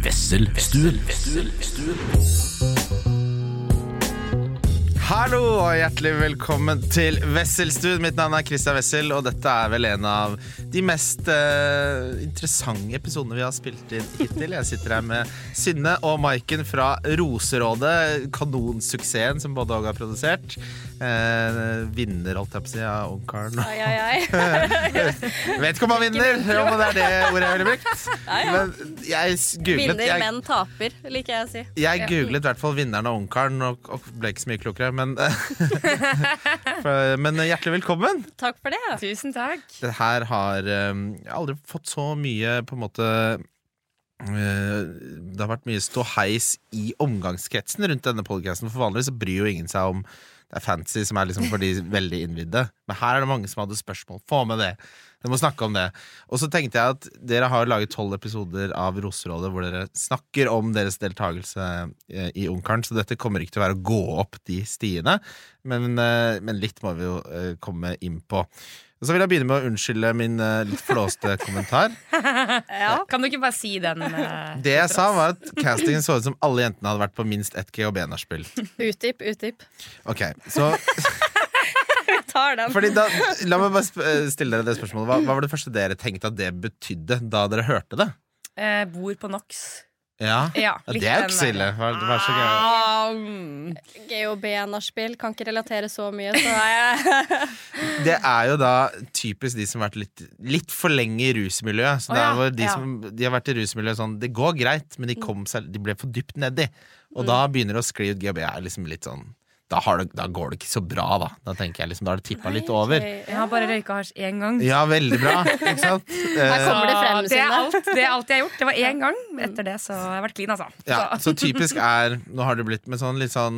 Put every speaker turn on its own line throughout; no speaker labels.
Vesselstuen.
Hallo og hjertelig velkommen til Wesselstuen. Mitt navn er Christian Wessel, og dette er vel en av de mest eh, interessante episodene vi har spilt inn hittil. Jeg sitter her med Synne og Maiken fra Roserådet. Kanonsuksessen som både og har produsert. Eh, vinner, holdt jeg på å si, av Ungkaren.
Ai, ai, ai.
Vet ikke om han vinner, jo, men det er det ordet jeg ville brukt. Men jeg s- googlet
Vinner,
jeg,
men taper, liker jeg å si.
Jeg googlet i hvert fall vinneren av Ungkaren og, og ble ikke så mye klokere, men, for, men hjertelig velkommen.
Takk for det.
Tusen takk.
Det her har um, Jeg har aldri fått så mye på en måte eh, det har vært mye ståheis i omgangskretsen rundt denne podcasten. For vanligvis så bryr jo ingen seg om det er fancy som er liksom for de veldig innvidde. Men her er det mange som hadde spørsmål. Få med det! Dere må snakke om det. Og så tenkte jeg at dere har laget tolv episoder av Roserådet hvor dere snakker om deres deltakelse eh, i Ungkaren, så dette kommer ikke til å være å gå opp de stiene. Men, eh, men litt må vi jo eh, komme inn på. Og så vil jeg begynne med å unnskylde min eh, litt flåste kommentar.
Kan du ikke bare si den? eh,
Det jeg sa var at castingen så ut som alle jentene hadde vært på minst ett GHB-nachspiel.
Utdyp, utdyp.
Ok, så
Tar den.
fordi da, La meg bare sp eh, stille dere det spørsmålet. Hva, hva var det første dere tenkte at det betydde da dere hørte det?
eh, bor på Nox.
Ja,
Ja,
Ja,
litt
Det er jo
den
ikke så ille.
der.
Vær, vær så gøy.
Ah, mm.
GHB nachspiel kan ikke relatere så mye, så er jeg
Det er jo da typisk de som har vært litt, litt for lenge i rusmiljøet. Så
Å
det
ja,
er hvor de,
ja.
som, de har vært i rusmiljøet sånn Det går greit, men de, kom seg, de ble for dypt nedi.
Mm.
Og da begynner det å skli ut GHB. Er liksom litt sånn da, har det, da går det ikke så bra, da. Da tenker jeg liksom, da har det tippa litt over.
Jeg har bare røyka hasj én gang.
Ja, veldig bra. Ikke sant? Eh,
Her kommer det
Så
frem,
det, er
Synne.
alt, det er alt jeg har gjort. Det var én gang. Etter det så har jeg vært clean, altså.
ja,
Så-
så typisk er Nå har det blitt med sånn litt sånn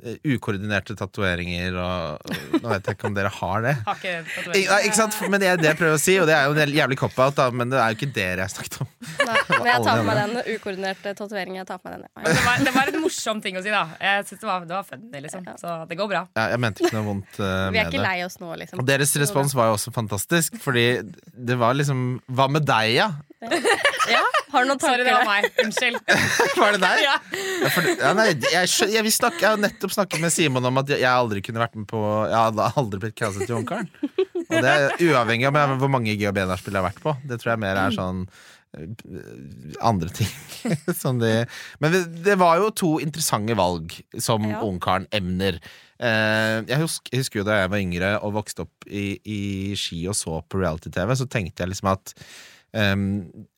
eh, ukoordinerte tatoveringer og og Nå vet jeg ikke om dere har det.
Har ikke
Ik
tatovering.
nei, ikke sant? Men det er det jeg prøver å si, og det er jo en del jævlig cop-out, da, men det er jo ikke dere jeg snakket om.
Nei, Men jeg tar på meg
Alle
den ukoordinerte tatoveringen. Jeg tar på meg den. ja.
det, var, det var en morsom ting å si, da. Jeg synes det, var, det var funny, liksom. Så det går bra.
Ja, jeg mente ikke noe vondt eh,
Vi er
med
ikke
det.
lei oss nå, liksom.
Og deres respons var jo også fantastisk, fordi det var liksom Hva med deg, ja?
Ja, har du noen tanker?
Sorry, det var
da?
meg. Unnskyld.
Var det deg?
Ja.
Ja, for, ja, nei, jeg, skjø- jeg, vil snakke, jeg har nettopp snakket med Simon om at jeg aldri kunne vært med på Jeg hadde aldri blitt castet til Ungkaren. Og det er uavhengig av hvor mange GHB-nachspiel jeg har vært på. Det tror jeg mer er sånn eh, andre ting. som de, men det, det var jo to interessante valg som
Ja.
Ungkaren emner. Eh, jeg husker, jeg husker jo da jeg var yngre og vokste opp i, i Ski og så på reality-TV, så tenkte jeg liksom at um,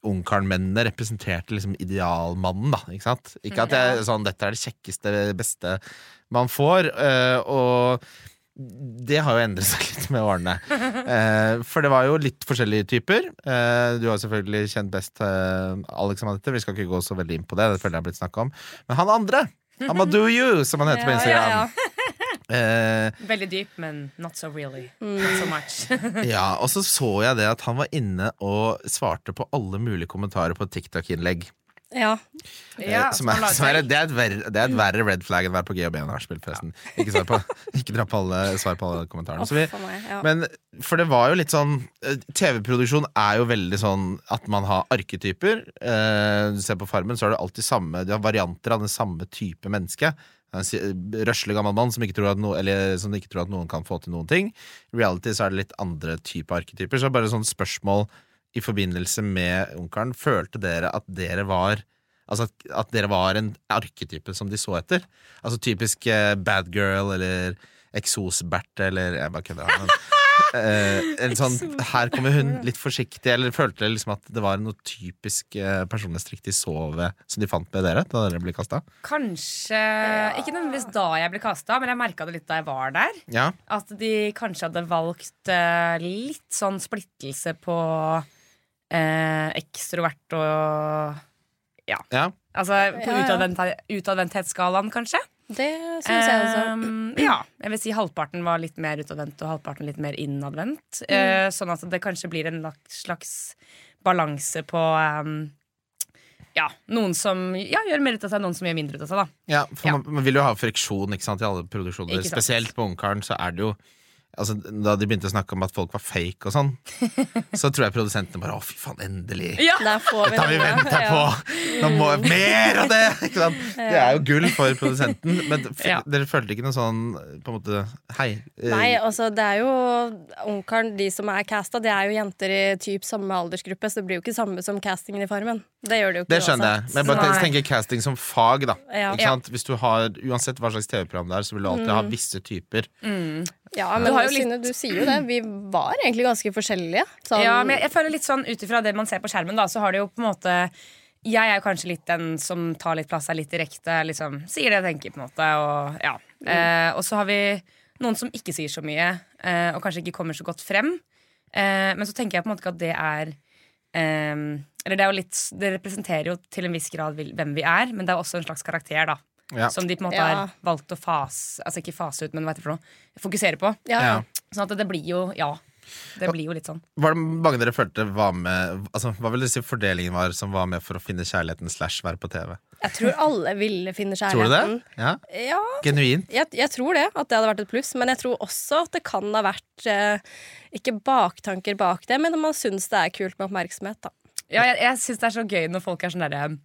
Ungkarmennene representerte liksom idealmannen, da. Ikke sant? Ikke at jeg, sånn, dette er det kjekkeste, beste man får. eh, og det har jo endret seg litt med årene. Eh, for det var jo litt forskjellige typer. Eh, du har selvfølgelig kjent best eh, Alex om dette. Vi skal ikke gå så veldig inn på det, det føler jeg har blitt snakket om. Men han andre, Amadou You, som han heter på
Ja,
Instagram.
ja,
Eh,
Veldig dyp, men not so really. Not so much.
Ja, og så så jeg det at han var inne og svarte på alle mulige kommentarer på et TikTok-innlegg.
ja.
Ja,
Eh, som er,
så han lager
som er,
seg-
det, er et verre, det er et verre red flag enn å være på GHB enn nachspiel, forresten. Ikke, svar på, ikke dra på alle, svar på alle kommentarene.
Uff
Så vi,
for meg. Ja.
men for det var jo litt sånn eh, TV-produksjon er jo veldig sånn at man har arketyper. Eh, Du ser på Farmen, så er det alltid samme Du har varianter av den samme type menneske. En si- eh, Røslig gammel mann som ikke, tror at no, eller, som ikke tror at noen kan få til noen ting. I reality så er det litt andre type arketyper. Så bare sånn spørsmål i forbindelse med Ungkaren. Følte dere at dere var Altså at, at dere var en arketype som de så etter? Altså typisk eh, bad girl eller eksos-Bert eller Jeg bare kødder. Men, eh, en sånn, her kommer hun litt forsiktig, eller følte dere liksom at det var noe typisk eh, personlighetstrekk de så ved, som de fant med dere da dere ble kasta?
Kanskje Ikke nødvendigvis da jeg ble kasta, men jeg merka det litt da jeg var der.
Ja.
At de kanskje hadde valgt eh, litt sånn splittelse på eh, ekstrovert og
Ja.
Altså på
Ja, ja.
utadvendthet- utadvendthetsskalaen, kanskje.
Det syns jeg også.
Ehm, ja. Jeg vil si halvparten var litt mer utadvendt og halvparten litt mer innadvendt.
Mm.
Eh, sånn at det kanskje blir en lak- slags balanse på ehm, ja, noen som ja, gjør mer ut av seg, noen som gjør mindre ut av seg, da.
Ja, for
Ja.
Man, man vil jo ha friksjon ikke sant, i alle produksjoner.
Ikke sant.
Spesielt på Ungkaren så er det jo altså, Da de begynte å snakke om at folk var fake og sånn, så tror jeg produsentene bare Å, fy faen, endelig!
Der får vi
Dette har vi
det.
venta
Ja.
på! Nå må jeg mer av det! Ikke sant? Det er jo gull for produsenten, men f
Ja.
dere følte ikke noe sånn på en måte Hei. eh,
Nei, altså det er jo Ungkaren, de som er casta, det er jo jenter i typ samme aldersgruppe, så det blir jo ikke samme som castingen i Farmen. Det gjør det jo ikke.
det skjønner jeg, men jeg bare
Nei.
tenker casting som fag, da.
Ja. Mm.
Ikke sant? Hvis du har, uansett hva slags TV-program det er, så vil du alltid ha visse typer.
Ja, men
Du
du,
har jo litt-
Synne, du sier jo det. Vi var egentlig ganske forskjellige. Sånn,
Ja, men jeg, jeg føler litt sånn ut ifra det man ser på skjermen, da, så har det jo på en måte Jeg er jo kanskje litt den som tar litt plass, er litt direkte, liksom sier det jeg tenker, på en måte, og ja. Eh, og så har vi noen som ikke sier så mye, eh, og kanskje ikke kommer så godt frem. Eh, men så tenker jeg på en måte ikke at det er eh, Eller det er jo litt Det representerer jo til en viss grad hvil- hvem vi er, men det er jo også en slags karakter, da.
Ja.
Som de på en måte
Ja.
har valgt å fase Altså ikke fase ut, men hva heter det for noe? Fokusere på.
ja.
Ja.
Sånn at det blir jo Ja. Det blir jo litt sånn.
Var det mange dere følte var med altså, Hva vil dere si fordelingen var som var med for å finne kjærligheten slash være på TV?
Jeg tror alle ville finne
Tror du det?
kjærligheten.
Ja?
Ja,
Genuint?
jeg, jeg tror det, at det hadde vært et pluss. Men jeg tror også at det kan ha vært eh, ikke baktanker bak det, men at man syns det er kult med oppmerksomhet, da.
Ja, jeg, jeg syns det er så gøy når folk er sånn derre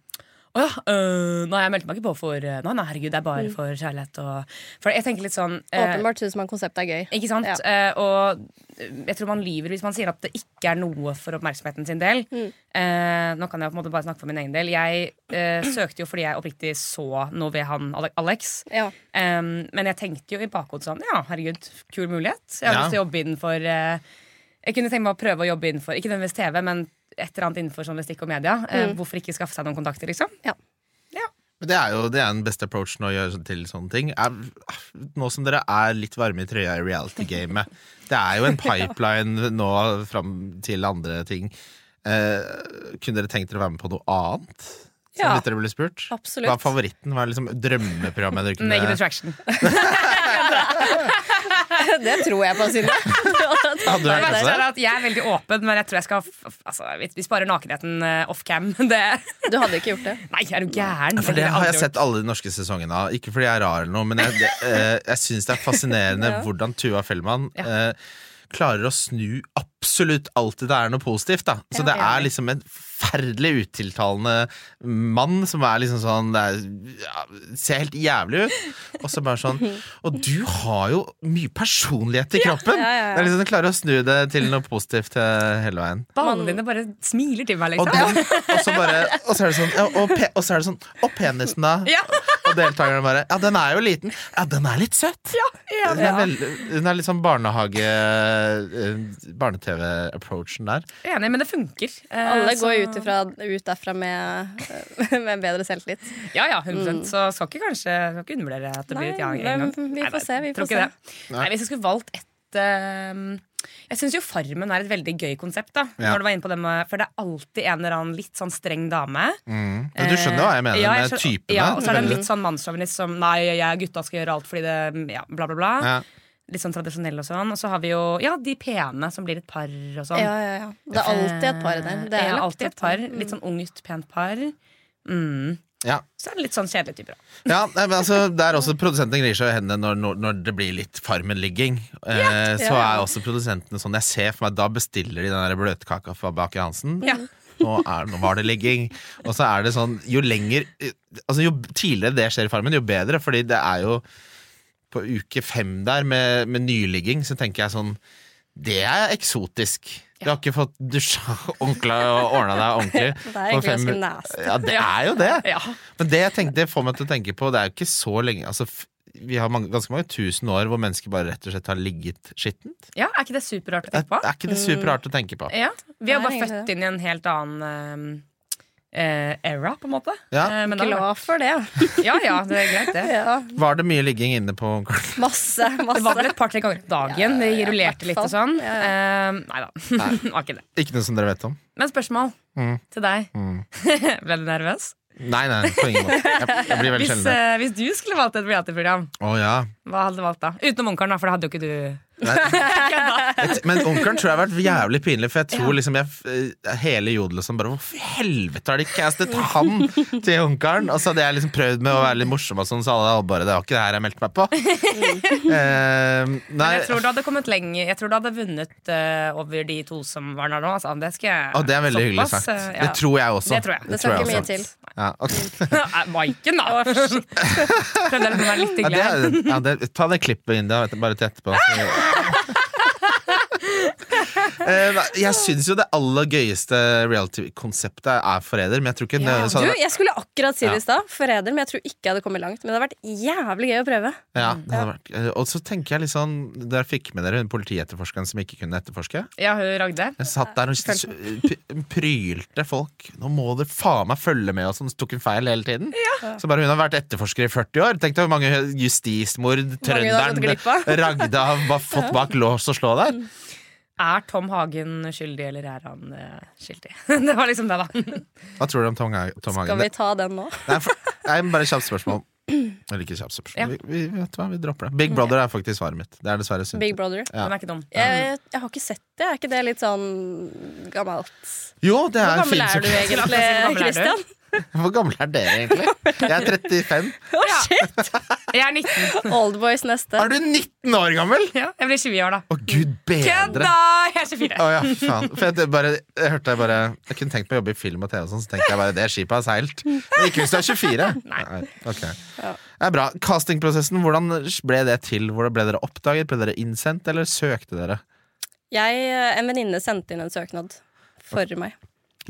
å ja, øh, nei, jeg meldte meg ikke på for øh, Nei, nei, herregud, det er bare for kjærlighet og For jeg tenker litt sånn eh,
Mm. Åpenbart syns man konseptet er gøy.
Ikke sant?
Ja.
Eh, og jeg tror man lyver hvis man sier at det ikke er noe for oppmerksomheten sin del.
Mm.
Eh, nå kan jeg på en måte bare snakke for min egen del. Jeg eh, søkte jo fordi jeg oppriktig så noe ved han Ale- Alex.
Ja.
Em, men jeg tenkte jo i bakhodet sånn Ja, herregud, kul mulighet. Jeg har
Ja.
lyst til å jobbe innenfor eh, Jeg kunne tenke meg å prøve å jobbe innenfor ikke nødvendigvis TV, men et eller annet innenfor journalistikk og media. Eh,
Mm.
hvorfor ikke skaffe seg noen kontakter, liksom?
Men det er jo det er den beste approachen å gjøre sånn til sånne ting. Er, nå som dere er litt varme i trøya i reality-gamet Det er jo en pipeline nå fram til andre ting. Eh, kunne dere tenkt dere å være med på noe annet? Som
Ja.
litt dere ble spurt?
Absolutt.
Hva er favoritten? Hva er liksom drømmeprogrammet dere
Naked
kunne
attraction.
Det tror jeg på, Synne.
Hadde du
Det
hørt
verste
det?
er at jeg er veldig åpen, men jeg tror jeg skal f- f- altså, vi, vi sparer nakenheten eh, off cam. Det,
Du hadde ikke gjort det.
nei, er du gæren?
For det
ville
har jeg
aldri
sett alle de norske sesongene av. Ikke fordi jeg er rar eller noe, men jeg, det, eh, jeg syns det er fascinerende hvordan Tuva Fellmann eh, klarer å snu absolutt alltid det er noe positivt. Da. Så det er liksom en forferdelig utiltalende mann som er liksom sånn det er, ja, Ser helt jævlig ut. Og så bare sånn Og du har jo mye personlighet i kroppen!
Ja, ja, ja.
Det er liksom, du klarer å snu det til noe positivt eh, hele veien.
gjort. Ballene dine bare smiler til meg,
Og,
liksom.
den, og, så bare, og så er det sånn ja, og, pe, og så er det sånn Og penisen, da?
Ja.
Og deltakerne bare Ja, den er jo liten. Ja, den er litt søt.
Ja,
Hun er, veld- hun er litt sånn barnehage eh, Barne-TV-approachen der.
Enig, men det funker. Eh,
Alle
så-
går ut, ifra, ut derfra med, eh, med bedre selvtillit.
Ja, ja, 100 Så skal ikke kanskje skal ikke undervurdere at det blir et ja
Mm. Nei,
en
men
gang.
vi
Nei,
får se, vi
tror
får
ikke
se.
Det. Nei, hvis jeg skulle valgt ett ehm, Jeg syns jo Farmen er et veldig gøy konsept. da
Ja.
Når du var inne på det med, For det er alltid en eller annen litt sånn streng dame.
Men du skjønner hva Mm. jeg mener
Eh, ja,
med
skjønner-
typene?
Ja, og så er det en
Veldig.
litt sånn mannssjåvinist som Nei, jeg, gutta skal gjøre alt fordi det Ja, bla, bla, bla.
Ja.
Litt sånn tradisjonell og sånn. Og så har vi jo ja, de pene som blir et par og sånn.
Ja, ja, ja. Det er alltid et par der. Det Mm. er
ja,
lagt
alltid et par. Litt sånn ungt, pent par. Mm.
Ja.
Så er det litt sånn kjedelige typer. da.
Ja, nei, men altså, der også Produsentene gnir seg i hendene når, når, når det blir litt Farmen-ligging. Eh, Så
Ja.
er også produsentene sånn Jeg ser for meg da bestiller de den der bløtkaka fra Baker Hansen.
Ja.
Mm.
Nå, er, nå var det ligging. Og så er det sånn Jo lenger Altså jo tidligere det skjer i Farmen, jo bedre. Fordi det er jo på uke fem der med, med nyligging, så tenker jeg sånn Det er eksotisk. Du har ikke fått dusja ordentlig og ordna deg ordentlig.
Det er egentlig
på fem-
ganske nasty.
Ja, det er jo det.
Ja.
Men det, jeg tenkte, det får meg til å tenke på, det er jo ikke så lenge altså, f- Vi har mange, ganske mange tusen år hvor mennesker bare rett og slett har ligget skittent.
Ja, Er ikke det superrart å
Det
Mm.
tenke på?
Eh.
er ikke det superart å tenke på.
Ja, Vi er
Nei,
bare
egentlig
født inn i en helt annen eh, era, på en måte.
Ja.
Eh, men da-
Glad for det.
ja, ja, det er greit, det.
Ja,
Var det mye ligging inne på
masse,
Det var
masse.
vel et par-tre ganger om dagen. Det rullerte litt og sånn. Eh, nei da. det var ikke det.
Ikke noe som dere vet om?
Men spørsmål
Mm.
til deg. Ble du nervøs?
Nei, nei, på ingen måte. Jeg, jeg blir veldig
Hvis,
sjelden det.
eh, hvis du skulle valgt et reality-program,
Å ja.
hva hadde du valgt da? Utenom Ungkaren, da, for det hadde jo ikke du.
Et- Men onkelen tror jeg har vært jævlig pinlig, for jeg tror liksom jeg, eh, hele jodel og sånn bare Hvorfor i helvete har de castet han til onkelen? Og så hadde jeg liksom prøvd med å være litt morsom, og sånn, så alle hadde bare Det var ikke det her jeg meldte meg på. Eh, nei,
Men jeg tror du hadde kommet lenger. Jeg tror du hadde vunnet eh, over de to som var der nå. Altså. Det skal jeg
og det er veldig hyggelig
Såpass,
sagt.
eh,
Det tror jeg også.
Det tror jeg.
Det skal ikke mye
også.
til.
Ja, ok.
Nei, Maiken, da! Prøvde jeg å være
Ja,
litt hyggelig.
det
her.
er, ja, det, ta det klippet inn da, vet du, bare til etterpå. så- Eh, nei, Jeg syns jo det aller gøyeste reality-konseptet er forræder, men jeg tror ikke nø- så
Du,
hadde,
jeg skulle akkurat si
Eh, Ja.
det i stad. Forræder. Men jeg tror ikke jeg hadde kommet langt. Men det hadde vært jævlig gøy å prøve.
ja, det hadde vært, eh, Og så tenker jeg litt sånn Dere fikk med dere hun politietterforskeren som ikke kunne etterforske.
Ja, hun Ragde.
Jeg satt der og s- p- prylte folk. Nå må dere faen meg følge med oss! Hun tok en feil hele tiden. Så bare Hun har vært etterforsker i 40 år. Tenk deg hvor mange justismord
Mange hun har gått
trønderen
glipp av.
Ragda har bare fått bak lås og slå der.
Er Tom Hagen skyldig, eller er han eh, skyldig? det var liksom det, da.
Hva tror du om Tom, Hag- Tom
Skal
Hagen?
vi ta den nå?
Nei, for, nei, men bare kjapt spørsmål. Eller ikke kjapt spørsmål.
Ja.
Vi, vi, vet du hva, vi dropper det. Big Brother er faktisk svaret mitt. Det er dessverre synd.
Big Brother.
Ja.
Den er ikke dum.
Eh,
Eh,
Jeg, jeg har ikke sett det. Er ikke det litt sånn gammelt?
Jo, det
Hvor
er
gammel
fint.
er du
som-
Skulle akkurat si, hvor gammel er
egentlig,
du?
Christian?
Hvor gammel er dere egentlig? Jeg er 35.
Ja. Jeg er 19.
Oldboys neste.
Er du 19 år gammel?!
Ja, jeg blir 20 i år, da.
Å, gud bedre!
Kødda! Jeg er 24.
Å ja, faen. For jeg, bare, jeg hørte jeg bare Jeg kunne tenkt meg å jobbe i film og TV, og sånn, så tenkte jeg bare det skipet har seilt. Men ikke hvis du er 24. Nei. ok. Det er bra. Castingprosessen, hvordan ble det til? Hvordan ble dere oppdaget? Ble dere innsendt, eller søkte dere?
Jeg, eh, en venninne sendte inn en søknad for meg.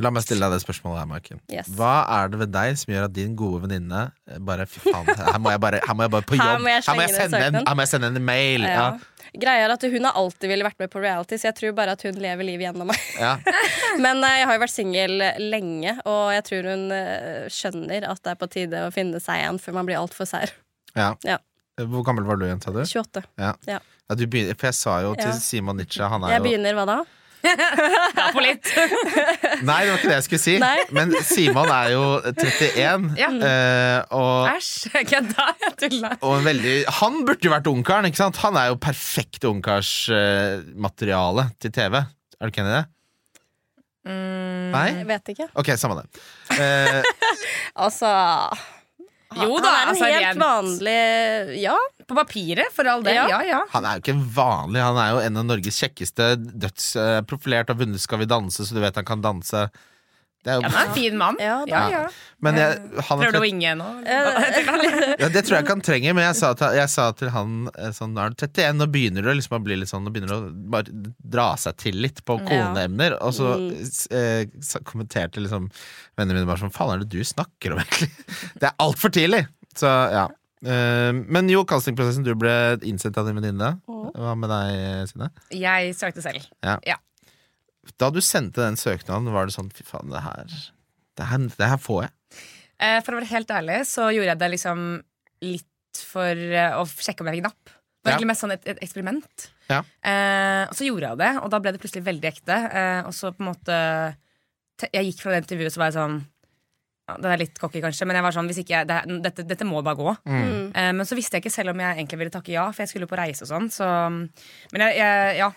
La meg stille deg det spørsmålet her, Maiken.
Yes.
Hva er det ved deg som gjør at din gode venninne eh, bare Fy faen, her må jeg bare, her må jeg bare på jobb.
Her må jeg slenge ned
sende en,
søknaden.
her må jeg sende en mail. Ja.
Ja. Greia er at Hun har alltid ville vært med på reality, så jeg tror bare at hun lever livet gjennom meg.
Ja.
Men eh, jeg har jo vært singel lenge, og jeg tror hun eh, skjønner at det er på tide å finne seg en før man blir altfor sær.
Ja.
Ja.
Hvor gammel var du igjen, sa du?
28.
Ja.
Ja.
Ja, du begynner, for jeg sa jo til
Ja.
Simon Nitsche Han er
Jeg
jo
begynner hva da?
Ja, på litt.
Nei, det var ikke det jeg skulle si.
Nei.
Men Simon er jo 31,
Ja.
eh, og,
Æsj. Kødda. Jeg tulla.
og en veldig Han burde jo vært ungkaren, ikke sant? Han er jo perfekt ungkarsmateriale til TV. Er du ikke enig i det?
Mm.
Nei?
Jeg vet ikke.
Ok, samme det. Eh,
Altså
Jo
Han
da,
er en
altså,
helt
rent-
vanlig Ja.
På papiret, for all del.
Ja.
Ja, ja.
Han er jo ikke vanlig, han er jo en av Norges kjekkeste dødsprofilert og vunnet Skal vi danse, så du vet han kan danse. Det er
Ja,
jo,
Han er en fin mann.
Ja,
ja, ja.
men jeg, han er
Prøver du å
trett-
winge nå?
ja, det tror jeg ikke han trenger, men jeg sa til, jeg sa til han eh, sånn Nå er du 31, nå begynner du liksom å bli litt sånn Nå begynner du å bare dra seg til litt på koneemner. Og så
Mm.
eh, sa- kommenterte liksom vennene mine bare sånn Faen, er det du snakker om, egentlig? Det er altfor tidlig! Så ja. Eh, men jo, castingprosessen. Du ble innsendt av din venninne. Hva med deg, Sine?
Jeg søkte selv.
Da du sendte den søknaden, var det sånn Fy faen, det her Det her, det her får jeg.
Eh, For å være helt ærlig så gjorde jeg det liksom litt for eh, å sjekke om jeg fikk napp. Det var
Ja.
egentlig mest sånn et, et eksperiment.
Ja.
Eh, og så gjorde jeg det, og da ble det plutselig veldig ekte. Eh, og så på en måte te- Jeg gikk fra det intervjuet, så var jeg sånn ja, Det er litt cocky, kanskje, men jeg var sånn hvis ikke jeg, det, her- dette, dette må bare gå.
Mm.
Eh, men så visste jeg ikke selv om jeg egentlig ville takke ja, for jeg skulle på reise og sånn. Så, men jeg, jeg, ja,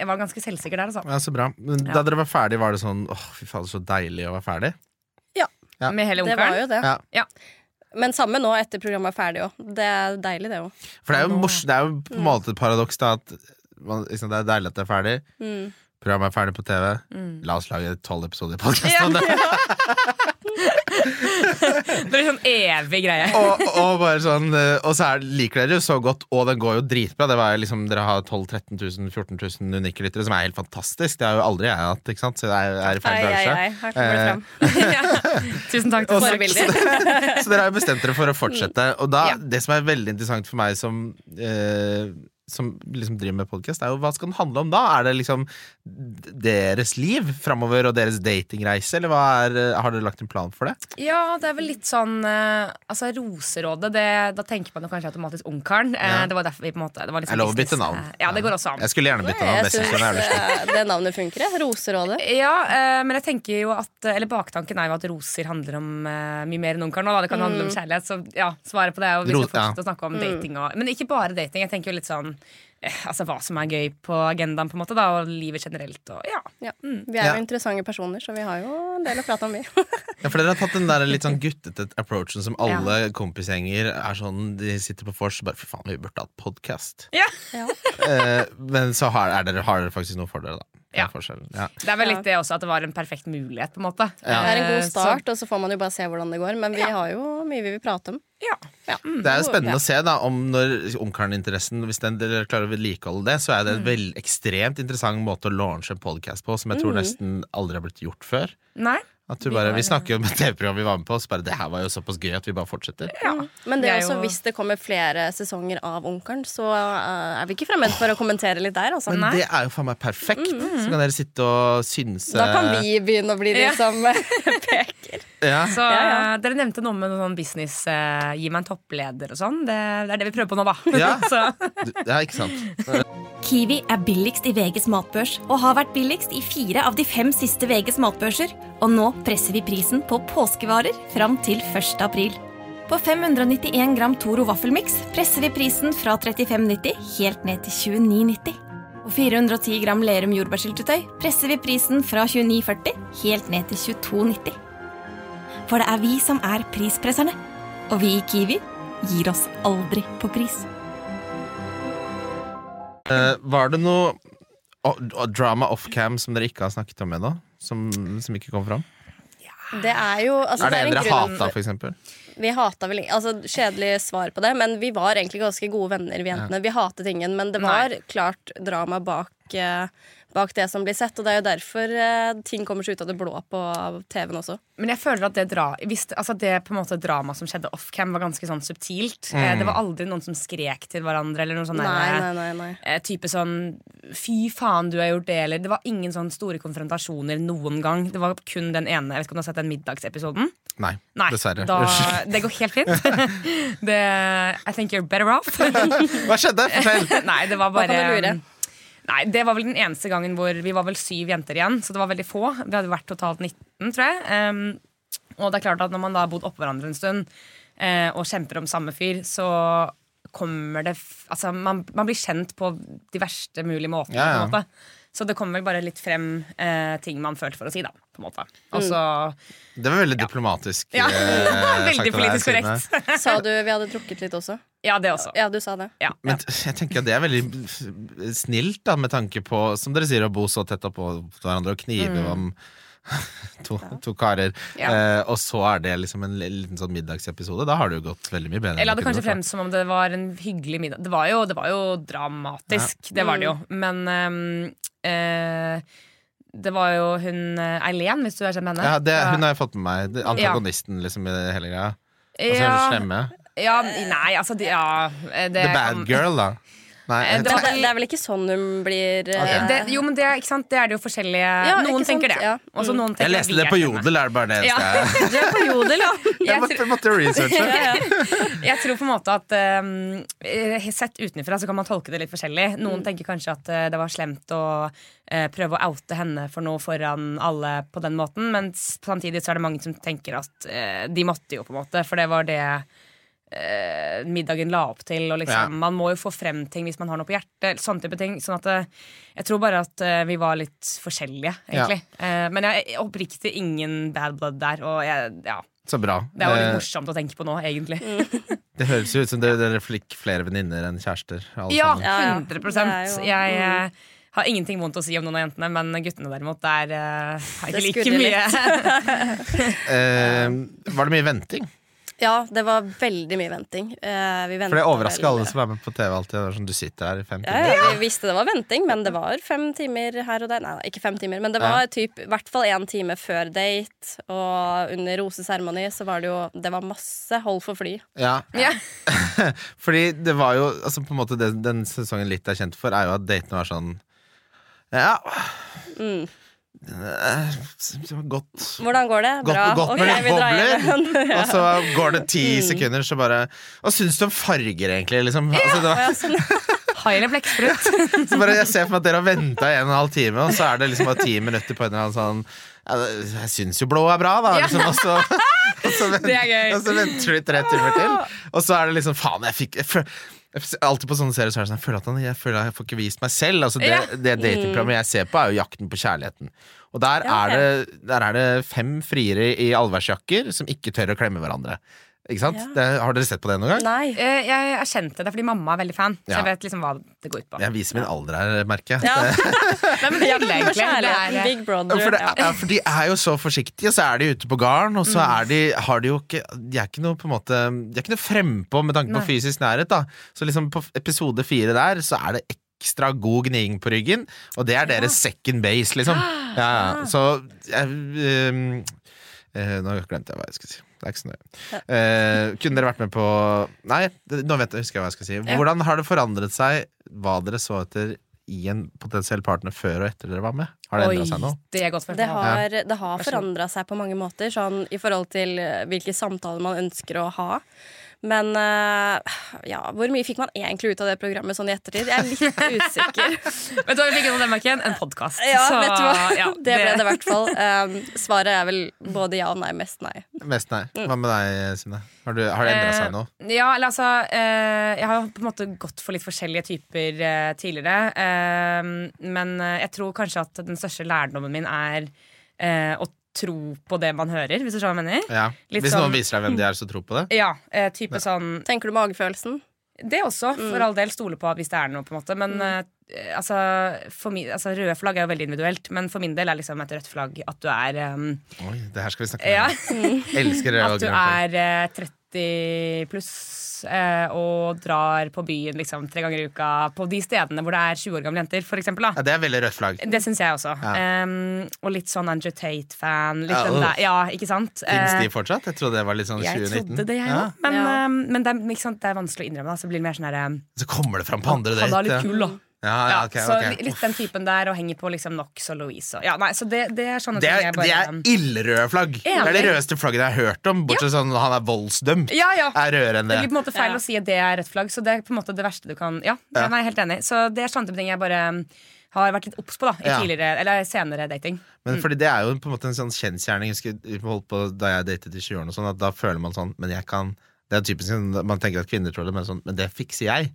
jeg var ganske selvsikker der, altså.
Ja, så bra. Men da
Ja.
dere var ferdig, var det sånn åh, fy faen, så deilig å være ferdig? Ja.
Med hele
Det var
onkelen.
jo det.
Ja.
Ja.
Men samme nå etter programmet er ferdig òg. Det er deilig, det òg.
For det er jo, mors det er jo
Mm.
på en måte et paradoks, da, at man, liksom, det er deilig at det er ferdig.
Mm.
Programmet er ferdig på TV. La oss lage tolv episoder i podkast om det!
Det var en sånn evig greie.
og, og bare sånn eh, Og så er, liker dere jo så godt, og den går jo dritbra. Det var jo liksom, dere har 12 000-13 000, 14 000 unike lyttere, som er helt fantastisk. Det har jo aldri jeg hatt, ikke sant? Så jeg er, er i feil
Ei, ei,
bransje.
ei. Her kommer det
Eh,
fram.
Tusen takk til
Og så-
forbilder.
Så dere har jo bestemt dere for å fortsette. Og da,
Mm. Ja.
det som er veldig interessant for meg som eh, som liksom driver med podkast, er jo hva skal den handle om da? Er det liksom deres liv framover og deres datingreise, eller hva er, har dere lagt en plan for det?
Ja, det er vel litt sånn eh, Altså, Roserådet, det, da tenker man jo kanskje automatisk Ungkaren. Eh,
Ja.
det var derfor vi på en måte det var litt
Jeg
sånn
lover å bytte
business.
navn.
Eh, Ja, det går også an.
Jeg skulle gjerne bytte navn.
Jeg
men jeg synes
syns
den er jævlig slem.
eh, det navnet funker, jeg. Roserådet.
Ja, eh, men jeg tenker jo at eh, Eller baktanken er jo at roser handler om eh, mye mer enn ungkaren. nå, da. Det kan handle
Mm.
om kjærlighet. Så ja, svaret på det er jo vi skal
Ros- ja.
fortsette å snakke om dating. Og, men ikke bare dating. Jeg tenker jo litt sånn eh, Altså hva som er gøy på agendaen, på en måte, da, og livet generelt. Og ja.
Ja. Vi er
Ja.
jo interessante personer, så vi har jo en del å prate om, vi.
Ja, for dere har tatt den der litt sånn guttete approachen som alle kompisgjenger er sånn De sitter på vors og bare 'fy faen, vi burde hatt podkast'.
Ja.
Ja.
eh, men så har, er dere, har dere faktisk noe for dere, da. Det er
Ja.
forskjellen, Ja.
Det er vel
Ja.
litt det også, at det var en perfekt mulighet, på en måte.
Ja.
Det er en
Eh,
god
så-
start, og så får man jo bare se hvordan det går. Men vi har jo mye vi vil prate om.
ja.
Det er jo spennende å se da om når ungkarninteressen Hvis den, dere klarer å vedlikeholde det, så er det en vel, ekstremt interessant måte å launche en podkast på som jeg tror nesten aldri har blitt gjort før.
Nei.
At du
Vi
bare,
har-
vi snakker jo om et TV-program vi var med på, så bare det her var jo såpass gøy at vi bare fortsetter.
Ja.
Mm. Men det er
Vi er
også,
jo-
hvis det kommer flere sesonger av Ungkaren, så eh, er vi ikke fremmed for å kommentere litt der. Altså.
Men det er jo faen meg perfekt! Så kan dere sitte og synse
Da kan vi begynne å bli de
Eh, Ja.
som eh, peker.
ja.
Så
Ja, ja.
eh, Dere nevnte noe med noe sånn business eh, Gi meg en toppleder og sånn. Det, det er det vi prøver på nå, da.
Ja.
så,
ja, ikke sant?
Kiwi er billigst i VGs matbørs og har vært billigst i fire av de fem siste VGs matbørser. Og nå presser vi prisen på påskevarer fram til 1. april. På 591 gram Toro vaffelmiks presser vi prisen fra 35,90 helt ned til 29,90. Og 410 gram Lerum jordbærsyltetøy presser vi prisen fra 29,40 helt ned til 22,90. For det er vi som er prispresserne. Og vi i Kiwi gir oss aldri på pris.
Eh, var det noe å- å- drama off-cam som dere ikke har snakket om ennå? Som, som ikke kom fram?
Det er jo altså,
er det en
en
dere
grunn-
hata, for eksempel?
Vi hata vel altså, Kjedelig svar på det, men vi var egentlig ganske gode venner, vi jentene. Vi hatet ingen, men det var klart drama bak, eh, bak det som blir sett. Og det er jo derfor eh, ting kommer seg ut av det blå på TV-en også.
men jeg føler at det, dra, hvis, det- altså det på en måte dramaet som skjedde off-cam, var ganske sånn subtilt. Eh,
Mm.
Det var aldri noen som skrek til hverandre eller noe sånn
Nei,
der,
nei, nei, nei.
eh, type sånn 'fy faen, du har gjort det', eller Det var ingen sånn store konfrontasjoner noen gang. Det var kun den ene. Jeg vet ikke om du har sett den middagsepisoden?
Nei,
Nei,
dessverre.
Da,
Unnskyld.
det går helt fint. det, I think you're better off.
Hva skjedde? Fortell!
Nei, det var
Hva
bare um,
kan du lure?
Nei, det var vel den eneste gangen hvor vi var vel syv jenter igjen, så det var veldig få. Vi hadde vært totalt 19, tror jeg. Ehm, og det er klart at når man da har bodd oppå hverandre en stund eh, og kjemper om samme fyr, så kommer det f Altså, man, man blir kjent på de verste mulige måtene.
Ja, ja.
På en måte. Så det kommer vel bare litt frem eh, ting man følte for å si, da. På en måte.
Mm.
Og så
Det var veldig diplomatisk.
Ja.
eh, sagt
Veldig
av deg,
politisk
Trine.
korrekt.
Sa du vi hadde drukket litt også?
Ja, det også.
Ja, du sa det.
Ja, ja.
Men t- jeg tenker at det er veldig snilt, da, med tanke på, som dere sier, å bo så tett oppå hverandre og knive om to, to karer.
Mm. Ja.
Eh, og så er det liksom en li- liten sånn middagsepisode. Da har det jo gått veldig mye bedre. enn
Eller hadde
det kunne
kanskje
gjort, da.
frem som om det var en hyggelig middag. Det var jo, det var jo dramatisk, det var det jo.
Mm.
Men ehm, eh, det var jo hun eh, Eileen, hvis du er kjent med henne.
Ja, det, hun har jeg fått med meg. Det-
Ja.
Antagonisten liksom i hele greia. Og så Altså, er det
ja,
slemme.
ja, nei, altså de, Ja. eh, Det,
The bad girl, da. Nei,
Eh,
jeg,
det-
Men det, det er vel ikke sånn hun blir eh,
Ok.
Det, jo, men det, ikke sant? det er det jo forskjellige Noen
ikke sant?
tenker det.
Ja.
Også noen tenker
jeg
at
leste
vi
det
er
på
slemme.
Jodel, er det bare det eneste
Ja.
jeg
Du er på jodel, ja!
Jeg
Jeg
måtte, måtte researche.
Jeg tror på en måte at ehm, eh, Sett utenfra så kan man tolke det litt forskjellig. Noen tenker kanskje at eh, det var slemt å eh, prøve å oute henne for noe foran alle på den måten, men s- samtidig så er det mange som tenker at eh, de måtte jo, på en måte, for det var det eh, middagen la opp til.
Ja.
Og liksom, Man må jo få frem ting hvis man har noe på hjertet. Sånne type ting Sånn at eh, jeg tror bare at eh, vi var litt forskjellige, egentlig. Eh, men jeg oppriktig ingen bad blood der. Og jeg, ja,
Så bra.
det er jo
Eh,
litt morsomt å tenke på nå, egentlig.
Mm.
Det høres jo ut som dere, dere fikk flere venninner enn kjærester. alle
Ja,
sammen.
Ja, ja.
100
Det er jo- mm.
Jeg eh, har ingenting vondt å si om noen av jentene, men guttene derimot, der eh, har
Det
ikke like
skurrer
mye.
Eh, var det mye venting?
Ja, det var veldig mye venting. Eh, vi
For det
ventet
overrasker
vel-
alle som er med på TV alltid. Det er sånn, du sitter her i fem
Ja,
timer.
ja, vi visste det var venting, men det var fem timer her og der. Nei, nei, ikke fem timer, men det var typ, i hvert fall én time før date. Og under roseseremoni så var det jo Det var masse hold for fly.
Ja.
Ja.
Fordi det var jo altså på en måte det, Den sesongen litt er kjent for, er jo at datene var sånn Ja
Mm.
Eh, det var Godt.
Hvordan går det?
Godt,
Bra.
godt med
Ok,
litt
vi drar hjem
bobler.
igjen. Mm.
Og så går det ti sekunder, så bare Hva syns du om farger, egentlig? Liksom. Altså, det var,
Ja, sånn.
Hai eller blekksprut?
så bare, jeg ser for meg at dere har venta en og en halv time, og så er det liksom bare ti minutter på en eller annen sånn ja, det- Jeg syns jo blå er bra, da. Liksom, og så, og så vent,
Det er gøy.
Og så venter du i tre timer til, og så er det liksom Faen, jeg fikk jeg føl- jeg f- Alltid på sånne serier så er det sånn Jeg føler at han, jeg, føler at jeg får ikke vist meg selv. Altså, det,
Ja.
det datingprogrammet jeg ser på, er jo Jakten på kjærligheten. Og der,
Ja, ok.
er, det, der er det fem friere i allværsjakker som ikke tør å klemme hverandre. Ikke sant?
Ja.
Det, har dere sett på det noen gang?
Nei.
Eh, Jeg erkjente det fordi mamma er veldig fan. Så
Ja.
jeg vet liksom hva det går ut på.
Jeg viser min alder her, merker jeg.
Ja.
Nei, men det er hyggelig, egentlig. Det er,
Kjærligheten,
eh,
Big Brother.
Ja, For, det,
ja.
ja, for de er jo så forsiktige, og så er de ute på garn, og så
Mm.
er de, har de jo ikke De er ikke noe på en måte De er ikke noe frempå med tanke på
Nei.
fysisk nærhet, da. Så liksom på episode fire der, så er det ekstra god gniing på ryggen, og det er deres second base, liksom.
Ah,
Ja, ja. Så jeg, ehm, eh, Nå glemte jeg hva jeg skulle si. Det er ikke så nøye. Eh, kunne dere vært med på Nei, det, nå vet jeg, husker jeg hva jeg skal si. Hvordan har det forandret seg hva dere så etter i en potensiell partner før og etter dere var med? Har det endra seg
Oi,
noe?
det er godt for
Det har, det har forandra seg på mange måter, sånn i forhold til eh, hvilke samtaler man ønsker å ha. Men eh, ja, hvor mye fikk man egentlig ut av det programmet sånn i ettertid? Jeg er litt usikker.
Vet du hva vi fikk ut av den marken? En podkast.
Ja,
Så,
vet du hva?
ja,
det ble det i hvert fall. Um, svaret er vel både ja og nei, mest nei.
Mest nei. Hva med deg, Synne? Har, du, har det endra seg nå?
Mm. Eh, Ja, eller altså eh, Jeg har jo på en måte gått for litt forskjellige typer eh, tidligere. eh, men eh, jeg tror kanskje at den største lærdommen min er eh, å tro på det man hører, hvis du skjønner hva jeg mener.
Ja.
litt
Hvis
sånn-
noen viser deg hvem de er, så tro på det?
Ja, eh, type sånn
Tenker du magefølelsen?
Det også, for all del. Stole på at hvis det er noe, på en måte. Men eh, altså, for min, altså, røde flagg er jo veldig individuelt, men for min del er liksom et rødt flagg at du er eh,
Oi, det her skal vi snakke
Ja.
om. Elsker det.
At du er eh, 30 pluss eh, og drar på byen liksom, tre ganger i uka på de stedene hvor det er 20 år gamle jenter, for eksempel. Da.
Ja, det er veldig rødt flagg.
Det syns jeg også. Em, og litt sånn Andrew Tate-fan. Litt
Ja,
den
uff.
der. Ja, ikke sant?
Fins
Eh,
de fortsatt? Jeg trodde det var litt sånn
jeg
2019.
trodde det, jeg òg.
Ja.
Men,
Ja.
em, men det, er- ikke sant, det er vanskelig å innrømme. Da. Så blir det mer sånn her em,
Så kommer det fram på andre
Han er
date.
litt kul, da.
Ja, Ah, ja,
Ja,
ok,
så
ok.
li- litt den typen der, og henger på liksom Knox og Louise og ja, nei, Så det, det er sånne
Det
ting
er,
jeg
det
bare
er ildrøde flagg! Det er det
Enig.
rødeste flagget jeg har hørt om. Bortsett fra sånn han er voldsdømt.
Ja, ja.
Er rødere enn
Det
det.
blir på en måte feil
Ja.
å si at det er rødt flagg, så det er på en måte det verste du kan Ja,
Ja.
nei, jeg er helt enig. Så det er sånne type ting jeg bare um, har vært litt obs på da, i
Ja.
tidligere, eller senere dating.
Men fordi det er jo på en måte en sånn kjensgjerning. Jeg husker vi holdt på Da jeg datet i 20-årene, og sånn, at da føler man sånn Men jeg kan Det er typisk sånn, Man tenker at kvinner tror det, men sånn Men det fikser jeg.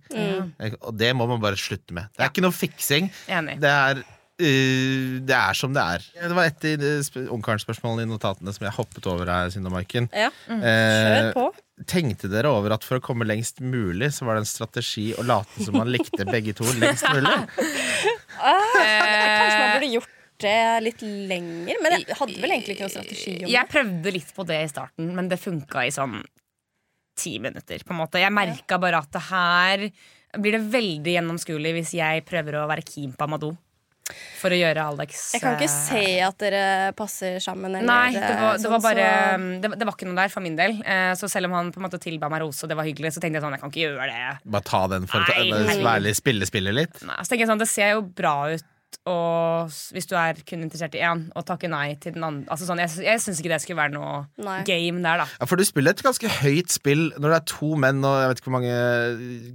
Jeg- Og det må man bare slutte med. Det er ikke noe fiksing.
Enig.
Det er øh, det er som det er. Det var et i det sp- ungkarspørsmålene i notatene som jeg hoppet over her. Synne Maiken.
Ja.
Mm.
Eh,
Kjør på.
tenkte dere over at for å komme lengst mulig, så var det en strategi å late som man likte begge to lengst mulig?
Kanskje man burde gjort det litt lenger, men jeg hadde vel egentlig ikke noen strategi om det.
Jeg prøvde litt på det i starten, men det funka i sånn ti minutter. på en måte Jeg merka bare at det her blir det veldig gjennomskuelig hvis jeg prøver å være keen på Amadou. For å gjøre Alex
Jeg kan
eh,
ikke se at dere passer sammen. Eller,
Nei, det var, det
sånn,
var bare um,
så-
det, var- det var ikke noe der for min del. Eh, Så selv om han på en måte tilba meg rose, og det var hyggelig, så tenkte jeg sånn, jeg kan ikke gjøre det.
Bare ta den for å
Nei, herregud.
være litt spille-spille litt?
Nei, så tenker jeg sånn, Det ser jo bra ut og, s- hvis du er kun interessert i én, og takke nei til den andre. Altså sånn, jeg sy- jeg syns ikke det skulle være noe
Nei.
game der, da.
Ja, for du spiller et ganske høyt spill når det er to menn og jeg vet ikke hvor mange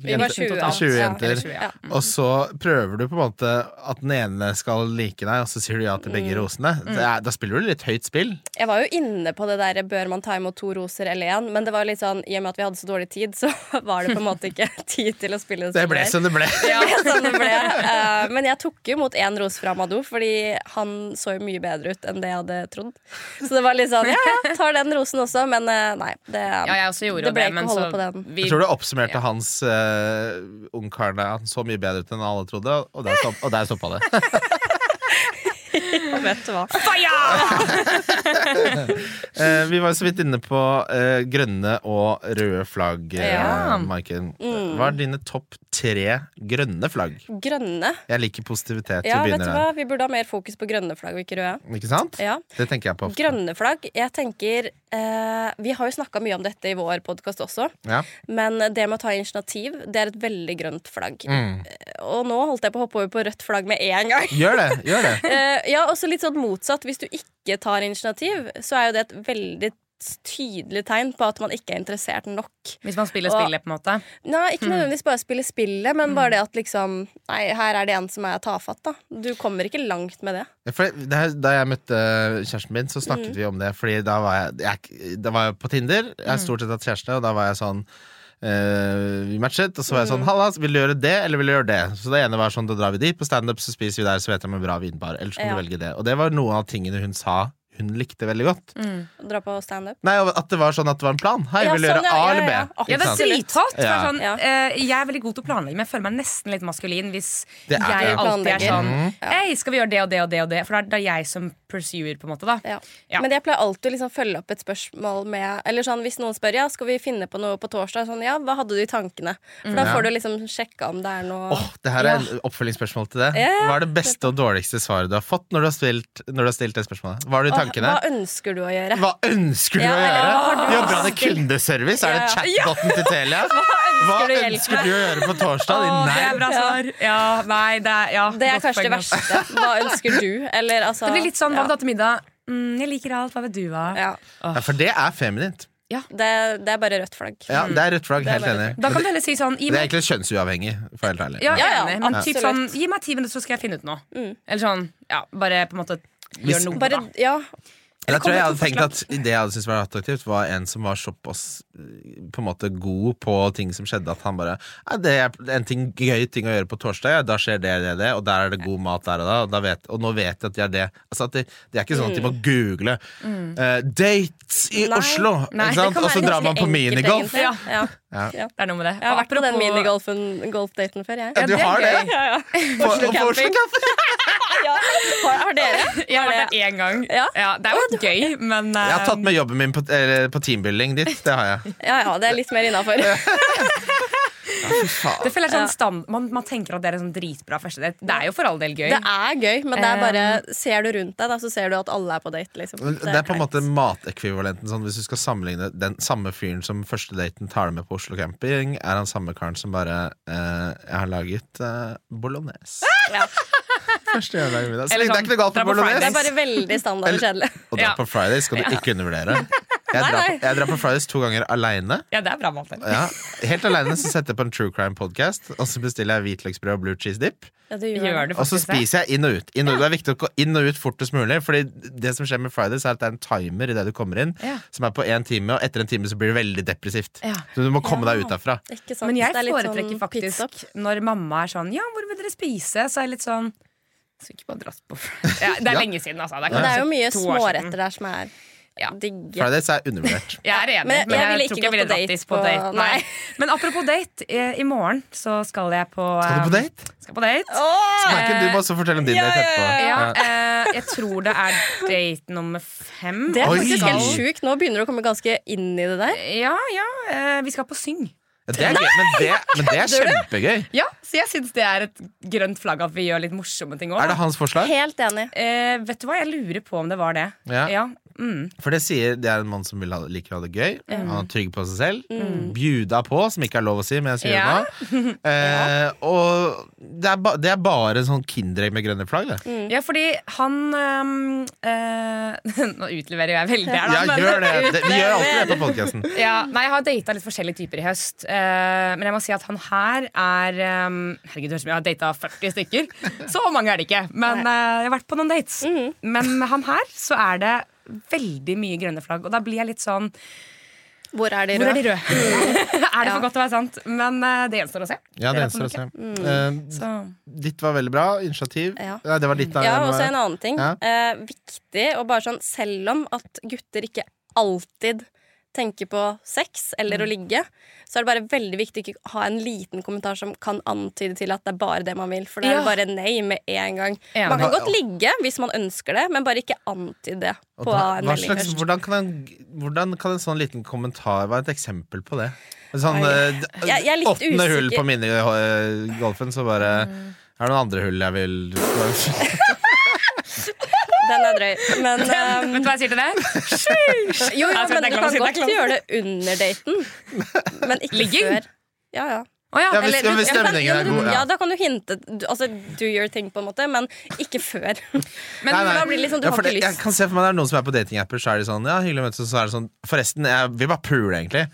Vi var
jenter-
20,
totalt.
20
ja.
jenter.
Eller 20, ja.
Og så prøver du på en måte at den ene skal like deg, og så sier du ja til
Mm.
begge rosene. Det er, da spiller du litt høyt spill.
Jeg var jo inne på det der bør man ta imot to roser eller én, men det var litt sånn, i og med at vi hadde så dårlig tid, så var det på en måte ikke tid til å spille det
Det ble
spillet.
som det ble.
Det ble sånn det ble. Eh, men jeg tok jo imot én ros fra Amadou, fordi han så jo mye bedre ut enn det jeg hadde trodd. Så det var litt sånn ja, ja, tar den rosen også, men eh, nei. Det,
Ja, jeg også gjorde
det ble
det, men
ikke å holde
så
på den.
vi,
Jeg tror du oppsummerte hans uh, ungkarene Han så mye bedre ut enn alle trodde, og der, stopp, og der stoppa det.
vet du hva.
Eh, vi var jo så vidt inne på eh, grønne og røde flagg, eh,
Ja.
Maiken.
Mm.
Hva er dine topp tre grønne flagg?
Grønne.
Jeg liker positivitet.
Ja,
vi
vet du
begynner
hva? Vi burde ha mer fokus på grønne flagg og ikke røde.
der. Ikke sant?
Ja.
Det tenker jeg på. ofte.
Grønne flagg. Jeg tenker eh, Vi har jo snakka mye om dette i vår podkast også,
Ja.
men det med å ta initiativ, det er et veldig grønt flagg. Eh,
Mm.
Og nå holdt jeg på å hoppe over på rødt flagg med en gang.
Gjør det! gjør det
Eh, ja, også litt sånn motsatt. Hvis du ikke tar initiativ, så er jo det et veldig tydelig tegn på at man ikke er interessert nok.
Hvis man spiller
Og-
spillet, på en måte.
Nei, ikke nødvendigvis bare spille spillet, men bare det at liksom Nei, her er det en som er tafatt, da. Du kommer ikke langt med det.
Ja, For det her, da jeg møtte eh, kjæresten min, så
Mm.
snakket vi om det. Fordi da var jeg, jeg, da var jeg på Tinder. Jeg har
Mm.
stort sett hatt kjæreste, og da var jeg sånn eh, Vi matchet, og så var jeg
Mm.
sånn Halla, vil du gjøre det, eller vil du gjøre det? Så det ene var sånn, da drar vi dit. På standup så spiser vi der, så vet jeg om en bra vinbar. Ellers kan
Ja.
du velge det. Og det var noen av tingene hun sa hun likte veldig godt.
Å Dra på standup.
Nei, og At det var sånn at det var en plan. Hei,
Mm. Ja,
vil du gjøre
sånn, ja,
A
ja,
eller B?
ja.
Ikke
Ja, det er
sant?
drithot! for
Ja.
Sånn,
Ja.
eh, jeg er veldig god til å planlegge, men jeg føler meg nesten litt maskulin hvis
Det er
jeg
det. Mhm.
alltid er
Planlegger.
sånn Hei, skal vi gjøre det og det og det og det? For det er, det er jeg som pursuer, på en måte. da
Ja.
Ja.
Men jeg pleier alltid å liksom følge opp et spørsmål med Eller sånn, Hvis noen spør ja, skal vi finne på noe på torsdag, sånn, ja, hva hadde du i tankene? For Da
Mm.
Ja.
får du liksom sjekka om det er noe
Åh, det her er en oppfølgingsspørsmål til det.
Ja.
Hva er det beste og dårligste svaret du har fått når du har stilt, når du har stilt det spørsmålet? Hva har du i
Hva-
tankene?
Hva ønsker du å gjøre?
Hva ønsker du å
Ja, eller hva har
gjøre?
du
Jobber han i kundeservice? Er det
Ja,
chatboten til Telia? Hva
ønsker du hjelp
ønsker du å gjøre på torsdag?
Å, det
Nei.
er bra svar. Ja, nei, det er ja,
Det er
godt
kanskje det
poeng, ass.
verste. Hva ønsker du? Eller altså
Det blir litt sånn hva
ja.
vil du ha til middag? Mm, jeg liker alt. Hva vil du ha?
Ja.
Ja, for det er feminint.
Det, det er bare rødt flagg.
Ja, det er rødt flagg.
Mm. Det er
Helt
bare
enig.
Da kan du heller si sånn gi
Det er
meg,
egentlig kjønnsuavhengig, for å være helt ærlig.
ja, jeg er
Ja, ja,
enig, men typ sånn,
absolutt. Mm.
gi meg ti minutter, så skal jeg finne ut noe. Eller sånn, ja, bare på en måte gjør noe.
Bare,
da.
ja.
Men Jeg tror jeg
kommer
hadde
to
tenkt at det jeg hadde syntes var attraktivt, var en som var såpass eh, på en måte god på ting som skjedde, at han bare «Nei, Det er en ting, gøy ting å gjøre på torsdag, ja, da skjer det, det, det, og der er det god mat der og da, og, da vet, og nå vet jeg at de er det. Altså at det, det er ikke sånn at de må google eh, 'Dates i
Nei.
Oslo',
Nei, det
ikke sant?
kan
og
være
så drar man på
Ganske enkelt,
minigolf.
egentlig. Ja.
Det er noe med det.
Jeg har vært på den
Apropos-
minigolfen- golfdaten før, jeg.
Ja, du
det er
har det?
gøy.
På, og på Oslo Camping.
Ja. Har, har dere?
Jeg
Har
har vært der én gang.
Ja?
det er jo gøy, men
Jeg har
eh,
tatt med jobben min på, eller, på teambuilding dit. Det har jeg.
Ja, ja, det er litt mer innafor.
det føler jeg er sånn stand, man, man tenker at det er en sånn dritbra første date. Det er jo for all del gøy.
Det er gøy, men det er bare
Um.
Ser du rundt deg, da, så ser du at alle er på date, liksom.
Men Det er på en måte matekvivalenten. Sånn, hvis du skal sammenligne den samme fyren som første daten tar deg med på Oslo camping, er han samme karen som bare eh, 'Jeg har laget eh, bolognese'.
Ja.
Første gang jeg lager middag. Så
Ah! Eller
det er
sånn,
ikke noe galt
dra
med
på
Det
bolognese.
er bare veldig standard og kjedelig.
Og dra
Ja.
på Fridays skal du ikke undervurdere. Jeg drar, på, jeg drar på Fridays to ganger aleine.
Ja, det er bra mat.
Ja. Helt aleine setter jeg på en true crime-podkast, og så bestiller jeg hvitløksbrød og blue cheese dip.
Ja, du gjør det.
Gjør det
Og så
faktisk det.
spiser jeg inn og ut. Inn og ut. Det er viktig å gå inn og ut fortest mulig. Fordi det som skjer med Fridays, er at det er en timer i det du kommer inn,
Ja.
som er på én time, og etter en time så blir det veldig depressivt.
Ja.
Så du må komme deg ut derfra.
Ikke sant?
Men jeg
Det er litt
foretrekker
sånn
faktisk
pizza.
når mamma er sånn Ja, hvor vil dere spise? Så er jeg litt sånn Skal ikke bare dratt på ja, Det er
Ja.
lenge siden, altså. Det er,
Men det er jo
kanskje
mye
to år siden.
småretter der som er
Ja.
digge.
Fridays er undervurdert.
Jeg er enig,
Men jeg-
men jeg,
jeg ville
tror
ikke
ikke jeg ville
gått på
dratt
date
dis på
på-
date. Nei.
nei.
Men apropos date, eh, i morgen så skal jeg på
Skal du på
eh,
date?
Skal på date.
Michael, du må også fortelle om din date etterpå.
Ja, eh, jeg tror det er date nummer fem.
Det er
Oi.
faktisk helt sjukt. Nå begynner du å komme ganske inn i det der.
Ja, ja. Eh, vi skal på Syng.
Ja, det er gøy, men, det, men det er kjempegøy.
Ja, Så jeg syns det er et grønt flagg at vi gjør litt morsomme ting
Er
òg.
det hans forslag?
Helt enig.
Eh, vet du hva, jeg lurer på om det var det.
Ja.
Mm.
For det sier det er en mann som vil ha, liker å ha det gøy. Han er trygg på seg selv. Bjuda på, som ikke er lov å si, men jeg sier
Mm. Ja.
det nå. Eh, og det er, ba, det er bare sånn Kinderegg med grønne flagg. Det.
ja, fordi han ehm, eh, Nå utleverer jeg veldig her, da.
Ja,
men-
gjør det. det. Vi gjør alltid det på podkasten.
Ja, nei, jeg har data litt forskjellige typer i høst. eh, men jeg må si at han her er ehm, Herregud, det høres ut som jeg har data 40 stykker. Så mange er det ikke. Men eh, jeg har vært på noen dates. Men med han her så er det veldig mye grønne flagg. Og da blir jeg litt sånn
Hvor er de
Hvor er de
røde?
røde? er det for godt til å være sant? Men eh, det gjenstår å se.
Ja, det
Eller
eneste
på
er
en
å se. Eh,
Så,
ditt var veldig bra. Initiativ.
Ja.
Nei, det var ditt. da.
Ja,
Det
og
var-
så en annen ting.
Ja.
Eh, viktig og bare sånn, selv om at gutter ikke alltid tenker på sex eller å ligge, så er det bare veldig viktig å ikke ha en liten kommentar som kan antyde til at det er bare det man vil. For da er det
Ja.
bare nei med en gang.
Ja.
Man kan
Hva-
godt ligge hvis man ønsker det, men bare ikke antyde det
Og
på
da-
en
hva
melding
slags,
først.
hvordan, kan en, hvordan kan en sånn liten kommentar være et eksempel på det? Sånn,
Nei.
eh, d-
Jeg- jeg er litt
Åttende hull
usikker. Mm.
på minigolfen, så bare Er det noen andre hull jeg vil
Den er drøy. Men
Vet du
ehm,
hva jeg sier til det?
jo, jo,
Jeg skal
men du
tenke
kan
meg å si
godt
det, jeg
gjøre det under daten, men ikke
Ligging?
før. Ja, ja.
Å ja,
Ja, hvis,
eller-
ja, hvis
Ja, men-
stemningen
ja,
er
men-
god.
Ja,
Ja.
da kan du hinte. Du- Altså, do your thing, på en måte, men ikke før.
men
Nei, nei.
da
blir det liksom, du
Ja,
har
for det,
ikke
jeg
lyst.
kan se for meg det er noen som er på datingapper, så er de sånn Ja, hyggelig å møtes, og så er det sånn Forresten, jeg vil bare pule, egentlig.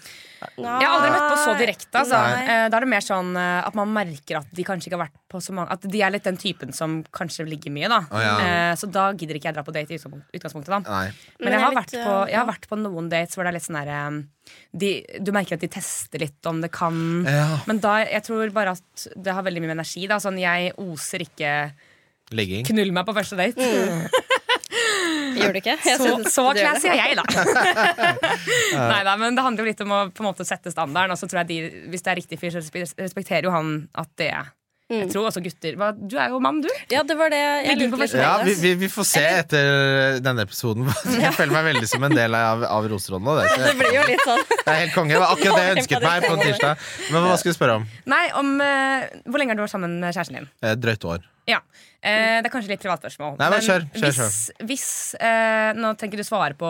Jeg har aldri møtt på så direkte. Altså.
Ah, Nei.
Eh, Da er det mer sånn eh, at man merker at de kanskje ikke har vært på så mange At de er litt den typen som kanskje ligger mye, da.
Å, ja.
Eh, Så da gidder ikke jeg dra på date i utgangspunkt- utgangspunktet, da.
Nei.
Men
Men
jeg har,
jeg
vært
vet,
på,
eh,
jeg har vært på noen dates hvor det er litt sånn derre de, Du merker at de tester litt om det kan
Ja.
Men da, jeg tror bare at det har veldig mye med energi. Da. Sånn, jeg oser ikke
Ligging.
'knull meg på første date'.
Mm.
Gjør du ikke? Jeg
Så,
synes
så
du gjør
classy er jeg, da. nei, nei, men det handler jo litt om å på en måte sette standarden. Og så tror jeg de, hvis det er riktig fyr, så respe- respekterer jo han at det er Jeg tror også gutter hva, Du er jo mann, du.
det. Ja, det var det jeg
Ligger
lurte
på
litt
første
på.
Ja, vi, vi, vi får se etter eh, denne episoden. Jeg føler meg veldig som en del av, av Roseråden nå. Det,
Det blir jo litt sånn
det er helt konge. Det var akkurat det jeg ønsket meg på en tirsdag. Men hva skulle du spørre om?
Nei, om eh, Hvor lenge har du vært sammen med kjæresten din?
Eh, Drøyt år.
Ja, eh, Det er kanskje litt privatspørsmål.
Nei, men kjør, kjør,
hvis, hvis eh, Nå trenger ikke du svare på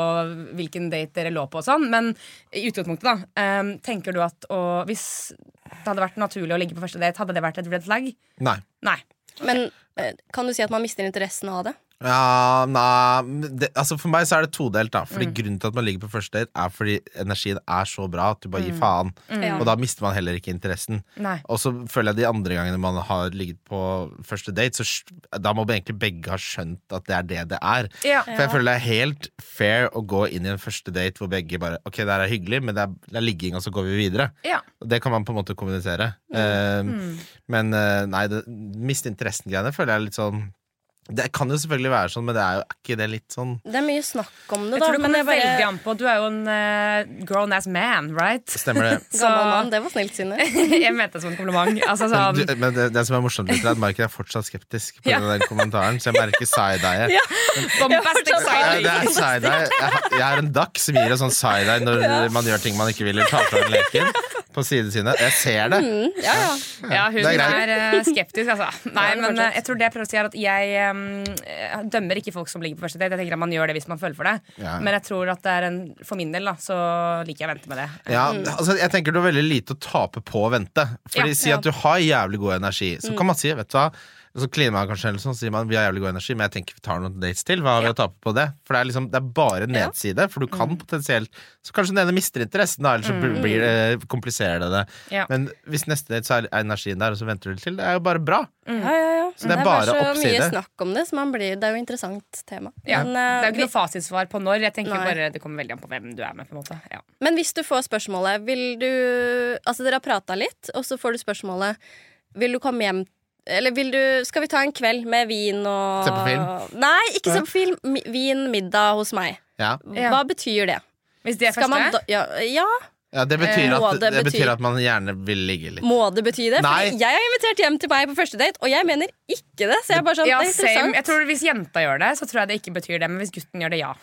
hvilken date dere lå på, og sånn men i utgangspunktet, da. eh, tenker du at å, Hvis det hadde vært naturlig å ligge på første date, hadde det vært et red flag?
Nei.
Nei.
Men eh, kan du si at man mister interessen av det?
Ja, nei men det, altså For meg så er det todelt. da Fordi Grunnen til at man ligger på første date, er fordi energien er så bra at du bare gir faen.
Mm.
Ja.
Og da mister man heller ikke interessen.
Nei.
Og så føler jeg de andre gangene man har ligget på første date, så sk- da må egentlig begge ha skjønt at det er det det er.
Ja.
For jeg føler det er helt fair å gå inn i en første date hvor begge bare Ok, det her er hyggelig, men det er, det er ligging, og så går vi videre.
Ja. Mm.
Og Det kan man på en måte kommunisere. Eh, Men eh, nei, det, miste interessen-greiene føler jeg er litt sånn Det kan jo selvfølgelig være sånn, men det er jo er ikke det litt sånn
Det er mye snakk om det,
Jeg
da.
tror det
men
kommer
jeg bare-
veldig an på. Du er jo en eh, grown ass man, right?
Stemmer det?
Så
Gammel mann, det var snilt, Synne.
jeg mente det som en kompliment. Altså,
Men,
sånn,
du, men det, det som er morsomt, litt, er at Marken er fortsatt skeptisk på
Ja.
grunn av den kommentaren, så jeg merker side-eye.
bombastic
Ja,
side.
det er side-eye. Jeg har- Jeg er en dakk som gir en sånn side-eye når man gjør ting man ikke vil, eller tar fra en leken på sidesynet. Jeg ser det.
Mm.
Ja, ja.
Ja, hun
Det er
er,
greit.
eh, skeptisk, altså. Nei,
Ja, det er
men
fortsatt.
eh, jeg tror det jeg prøver å si, er at jeg eh, dømmer ikke folk som ligger på første date. Jeg tenker at man gjør det hvis man føler for det.
Ja.
Men jeg tror at det er en For min del, da, så liker jeg å vente med det.
Ja, altså jeg tenker du har veldig lite å tape på å vente. Fordi
Ja,
Si
ja.
at du har jævlig god energi. Så kan man si vet du hva så kliner man kanskje eller sånn, så sier man vi har jævlig god energi, men jeg tenker vi tar noen dates til. Hva har vi å tape på det? For det er, liksom, det er bare nedside, for du kan potensielt Så kanskje den ene mister interessen, da, eller så blir- blir det, kompliserer det det.
Ja.
Men hvis neste date så er energien der, og så venter du til, det er jo bare bra.
ja, ja, ja.
Så det er bare
så
oppside.
mye snakk om det, så man blir, det er jo interessant tema.
Ja,
Men,
det
eh,
er jo ikke
vi-
noe fasitsvar på når. Jeg tenker
Nei.
bare Det kommer veldig an på hvem du er med. på en måte ja.
Men hvis du får spørsmålet vil du, Altså dere har prata litt, og så får du spørsmålet Vil du komme hjem Eller vil du, skal vi ta en kveld med vin og
Se på film?
Nei, ikke se på film. Mi, vin, middag hos meg.
Ja,
Ja.
Hva betyr det?
Hvis det er
Skal man
første
da, ja, ja,
ja det, betyr
Eh,
at,
må det
det
bety-
betyr at man gjerne vil ligge litt.
må det bety det?
Nei.
Fordi jeg er invitert hjem til meg på første date, og jeg mener ikke det. Så jeg er bare sånn,
ja,
det er
same.
interessant.
Jeg tror Hvis jenta gjør det, så tror jeg det ikke betyr det. Men hvis gutten gjør det, ja.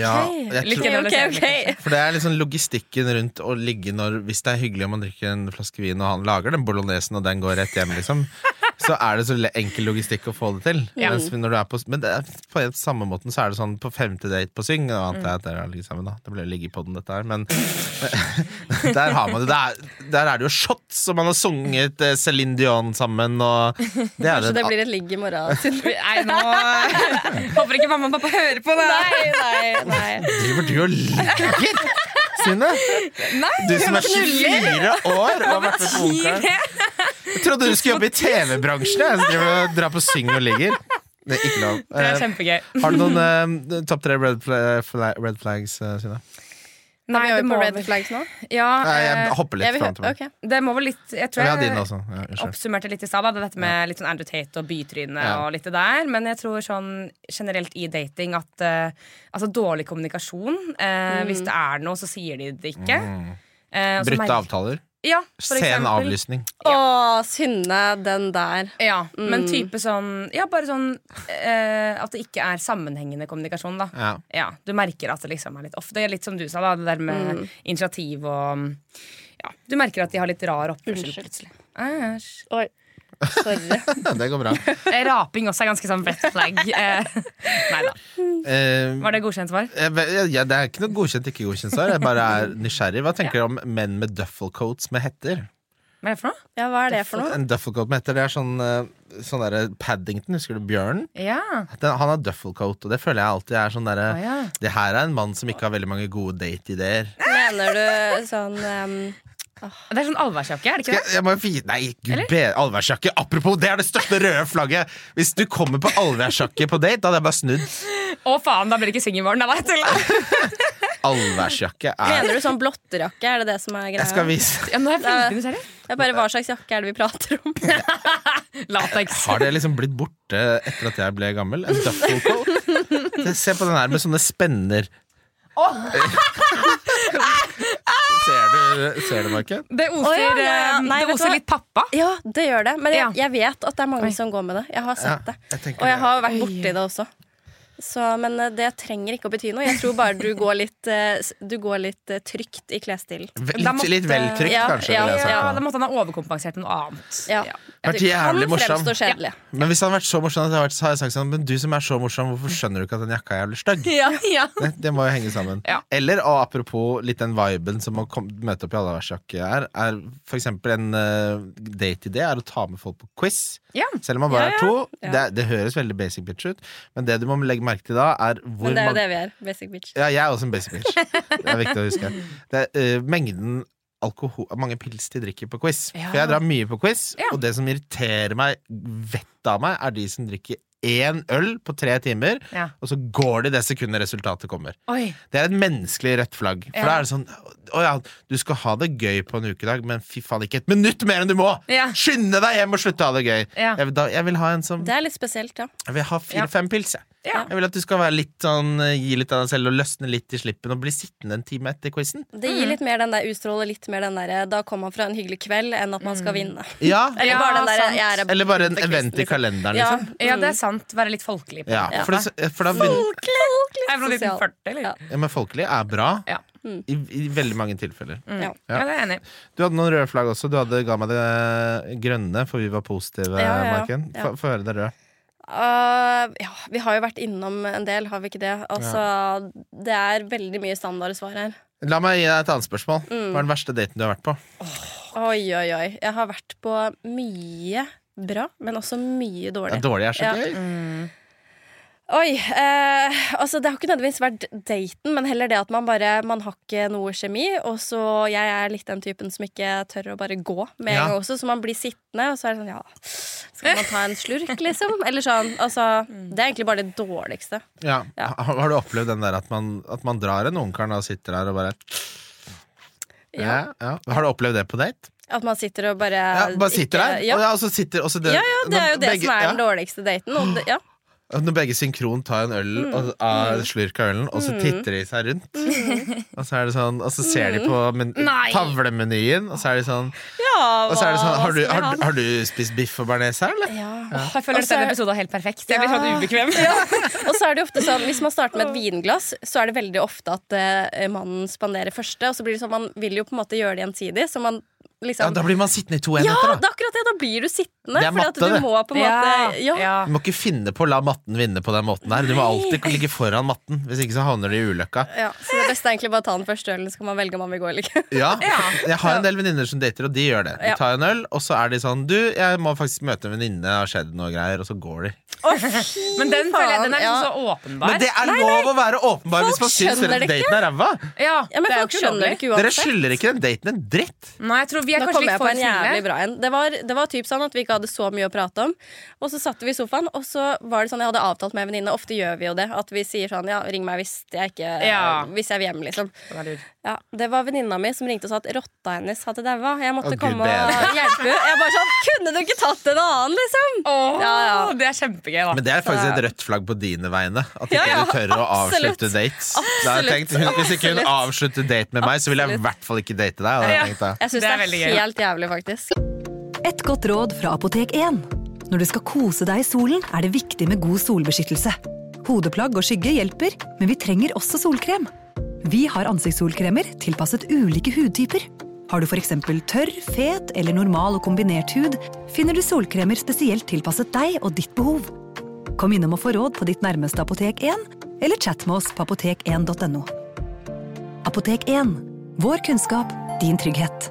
Ja, jeg
Litt
tror-
gjennom
Ok,
det
ok,
senere.
ok.
For det er liksom logistikken rundt å ligge når Hvis det er hyggelig om man drikker en flaske vin, og han lager den bolognesen, og den går rett hjem, liksom, så er det så le- enkel logistikk å få det til.
Ja.
Mens når du er på, men det er, på helt samme måten så er det sånn på femte date på Syng, og antar jeg at dere har ligget sammen, da. Det ble ligge på den, dette her, men der har man det. Der, der er det jo shots, og man har sunget eh, Céline Dion sammen, og det er
Så det
det.
blir et ligg i morgen. Synne.
Nei, nå Håper ikke mamma og pappa hører på det.
Nei, nei, nei.
Driver du og ligger, Synne? Du som er 24 år og har vært med på Ungkaren. Jeg trodde du skulle jobbe i TV-bransjen. Jeg som driver og drar på syng og ligger. Det er ikke lov.
Det er
Eh,
kjempegøy.
har du noen eh, topp tre red, fla- fla- red flags, eh, Synne?
Nei, vi
det
over på
må
red
vel-
flags nå?
Ja,
Nei,
eh,
jeg hopper
Jeg
litt
vil
fram og
hø-
tilbake.
ok.
det må vel litt Jeg tror
Men jeg har
jeg
din også. Ja, unnskyld.
oppsummerte litt i stad, da, dette med litt sånn Andrew Tate og bytryne
Ja.
og litt det der. Men jeg tror sånn generelt i dating at eh, Altså dårlig kommunikasjon. eh,
Mm.
Hvis det er noe, så sier de det ikke. Eh, og så
Brutte
merker-
Mm. avtaler.
Ja, for
Sen
eksempel.
avlysning.
Å, Synne, den der.
Ja,
Mm.
men type sånn Ja, bare sånn eh, at det ikke er sammenhengende kommunikasjon, da.
Ja.
Du merker at det liksom er litt off. Det er litt som du sa, da, det der med
Mm.
initiativ og Ja, du merker at de har litt rar oppførsel
Unnskyld.
plutselig. Æsj.
Oi. Sorry.
ja, det går bra.
Eh, Raping også er ganske sånn red flag. Eh, Nei da.
Eh,
Var det godkjent svar?
jeg vet- jeg- jeg- det er ikke noe godkjent ikke godkjent svar. Jeg bare er nysgjerrig. Hva tenker dere om menn med duffelcoats med hetter?
Hva er det for noe?
Ja, hva er det for noe?
En duffelcoat med hetter, det er sånn, eh, sånn derre Paddington, husker du bjørnen?
Ja.
Den, han har duffelcoat, og det føler jeg alltid er sånn derre
Å, ja.
Det her er en mann som ikke har veldig mange gode dateideer.
Mener du sånn em,
Det er sånn allværsjakke, er det ikke
Jeg,
det?
jeg må jo fi- Nei, gud be allværsjakke! Apropos, det er det største røde flagget! Hvis du kommer på allværsjakke på date, da hadde jeg bare snudd.
Å faen, da blir det ikke singelmorgen. Nei, nei, tulla.
Allværsjakke er
Mener du sånn blotterjakke? Er det det som er greia?
Jeg skal vise
Ja, nå er jeg veldig nysgjerrig.
Det er bare Hva slags jakke er det vi prater om?
Lateks.
Har det liksom blitt borte etter at jeg ble gammel? En duffelcoat? Se på den her med sånne spenner. ser, du, ser du meg ikke?
Det oser,
Å, ja, ja, ja.
eh,
Nei, vet
det
du
oser
hva?
litt pappa.
Ja, det gjør det. Men jeg,
Ja.
jeg vet at det er mange som går med det. Jeg har sett
Ja,
det.
jeg tenker
Og jeg
det.
har vært borti det også. Så, men eh, det trenger ikke å bety noe. Jeg tror bare du går litt, eh, s- du går litt eh, trygt i klesstilen.
Ve-
Da
Litt,
måtte-
litt vel trygt,
Ja,
kanskje.
ja,
vil jeg si.
Ja, Da måtte han ha overkompensert med noe annet.
Ja.
Vært
Du kan
jævlig morsom.
fremstå kjedelig.
Men hvis han hadde vært så morsom, hadde jeg vært- så hadde jeg sagt sånn Men du som er så morsom, hvorfor skjønner du ikke at den jakka er jævlig stygg? Det, det må jo henge sammen.
Ja.
Eller, og apropos litt den viben som å kom, møte opp i allværsjakke er, er for eksempel en uh, date-idé er å ta med folk på quiz.
Ja.
Selv om man bare
Ja, ja.
er to.
Ja.
Det, det høres veldig basic bitch ut, men det du må legge merke til da, er hvor
Men det
mange-
er jo det vi er. Basic bitch.
Ja, jeg er også en basic bitch. Det er viktig å huske. Det er eh, mengden alkohol Mange pils de drikker på quiz.
Ja.
For jeg drar mye på quiz,
Ja.
og det som irriterer meg vettet av meg, er de som drikker én øl på tre timer,
Ja.
og så går de det sekundet resultatet kommer.
Oi.
Det er et menneskelig rødt flagg. For
Ja.
da er det sånn Å ja, du skal ha det gøy på en ukedag, men fy faen, ikke et minutt mer enn du må!
Ja.
Skynde deg hjem og slutte å ha det gøy!
Ja.
Jeg, vil da, jeg vil ha en som
Det er litt spesielt, ja.
jeg vil ha
Ja.
fire-fem pils. Jeg.
Ja.
jeg vil at du skal være litt sånn, eh, gi litt av deg selv og løsne litt i slippen og bli sittende en time etter quizen.
Det
Mm.
gir litt mer den der ustrålet, litt mer den der eh, 'da kom man fra en hyggelig kveld', enn at man skal vinne.
Ja.
Eller
Mm. Ja,
bare den der,
sant.
eh, jeg er
Eller bare en
quizen,
event i
liksom.
kalenderen,
Ja.
liksom.
Ja, det er sant. Være litt folkelig. på
Ja,
en måte.
for, det, for da begynner
Er det fra
Sosial.
1940, eller?
Ja.
ja, Men folkelig er bra
Ja.
i, i veldig mange tilfeller.
Ja.
Ja, det er jeg enig i.
Du hadde noen røde flagg også. Du hadde, ga meg det grønne, for vi var positive,
Ja, ja, ja.
Marken.
Ja.
Få- Få høre det røde.
Uh, ja, vi har jo vært innom en del, har vi ikke det? Altså, Det er veldig mye standardsvar her.
La meg gi deg et annet spørsmål.
Mm.
Hva er den verste daten du har vært på?
Oi, oi, oi. Jeg har vært på mye bra, men også mye
Det
dårlig.
er dårlig, er så
Ja.
gøy.
Oi, eh, altså Det har ikke nødvendigvis vært daten, men heller det at man bare Man har ikke noe kjemi. Og så jeg er litt den typen som ikke tør å bare gå med en
Ja.
gang også, så man blir sittende, og så er det sånn Ja, skal man ta en slurk, liksom? Eller sånn. Altså,
Mm.
det er egentlig bare det dårligste.
Ja.
Ja.
Ha- Har du opplevd den der at man, at man drar en ungkar og sitter der og bare ja.
Ja.
Ja, Har du opplevd det på date?
At man sitter og bare
Ja, bare sitter
Eh, ikke-
der?
Ja.
Og, ja, og så sitter, og så det,
Ja, ja, det er jo
når
det
begge-
som er
ja,
den dårligste daten. Og det, ja.
Når begge synkron tar en øl
Mm.
og av slurk av ølen, og så titter de seg rundt.
Mm.
Og så er det sånn Og så ser de på men,
Nei.
tavlemenyen, og så er de sånn,
ja
og så er det sånn har, du, har, har du spist biff og bearnés her, eller?
ja.
Åh, Jeg føler at
Også er-
denne episoden er helt perfekt. Jeg blir
Ja.
sånn ubekvem.
Og så er det jo ofte sånn, Hvis man starter med et vinglass, så er det veldig ofte at eh, mannen spanderer første. Og så blir det sånn, Man vil jo på en måte gjøre det gjensidig. Så man
Ja,
liksom
da blir man sittende i to
Ja,
enheter,
det
da.
er akkurat det! Da blir du sittende.
Det er
fordi
matte,
at du
det.
må på en måte ja.
ja.
Du må ikke finne på å la matten vinne på den måten her. Du må alltid ligge foran matten, hvis ikke så havner du i ulykka.
Ja, Så det beste er egentlig bare å ta den første ølen, så kan man velge om man vil gå eller ikke.
Ja, Jeg har en del venninner som dater, og de gjør det. De
Ja.
tar en øl, og så er de sånn Du, jeg må faktisk møte en venninne, det har skjedd noe greier, og så går de.
Men den, føler jeg, den er
Ja.
liksom så åpenbar.
Men det er lov å være åpenbar hvis
Folk
man syns
skjønner det
daten er ræva!
ja,
Ja, men
det er jo
Folk
ikke
skjønner det
ulovlig.
ikke
Dere
uansett.
skylder ikke den daten en dritt!
Nei, jeg tror vi er
Nå
kanskje
kom jeg
litt
på
for
en jævlig
snille.
bra en. Det var, det var typ sånn at vi ikke hadde så mye å prate om. Og så satt vi i sofaen, og så var det sånn jeg hadde avtalt med en venninne. Ofte gjør vi jo det. At vi sier sånn ja, ring meg hvis jeg, ikke,
Ja.
hvis jeg av hjem, liksom.
Den er lur.
Ja, det var venninna mi som ringte og sa at rotta hennes hadde daua. Jeg måtte
Å, Gud
komme
bedre.
og hjelpe henne. Jeg bare sånn Kunne du ikke tatt en annen, liksom?
Åh,
Ja, ja.
Det er kjempegøy, da.
Men det er faktisk et rødt flagg på dine vegne. At ikke
Ja, ja,
du tør å
absolutt.
avslutte dates. Da har jeg
Absolutt,
tenkt, hun, hvis ikke hun
absolutt.
avslutter date med meg, så vil jeg i
Absolutt.
hvert fall ikke date deg. hadde jeg
Ja.
tenkt da.
Jeg syns
Det
det
er
er,
veldig gøy.
helt jævlig, faktisk.
Et godt råd fra Apotek 1. Når du skal kose deg i solen, er det viktig med god solbeskyttelse. Hodeplagg og skygge hjelper, men vi trenger også solkrem. Vi har ansiktssolkremer tilpasset ulike hudtyper. Har du f.eks. tørr, fet eller normal og kombinert hud, finner du solkremer spesielt tilpasset deg og ditt behov. Kom innom og få råd på ditt nærmeste Apotek 1, eller chat med oss på apotek1.no. Apotek 1 vår kunnskap, din trygghet.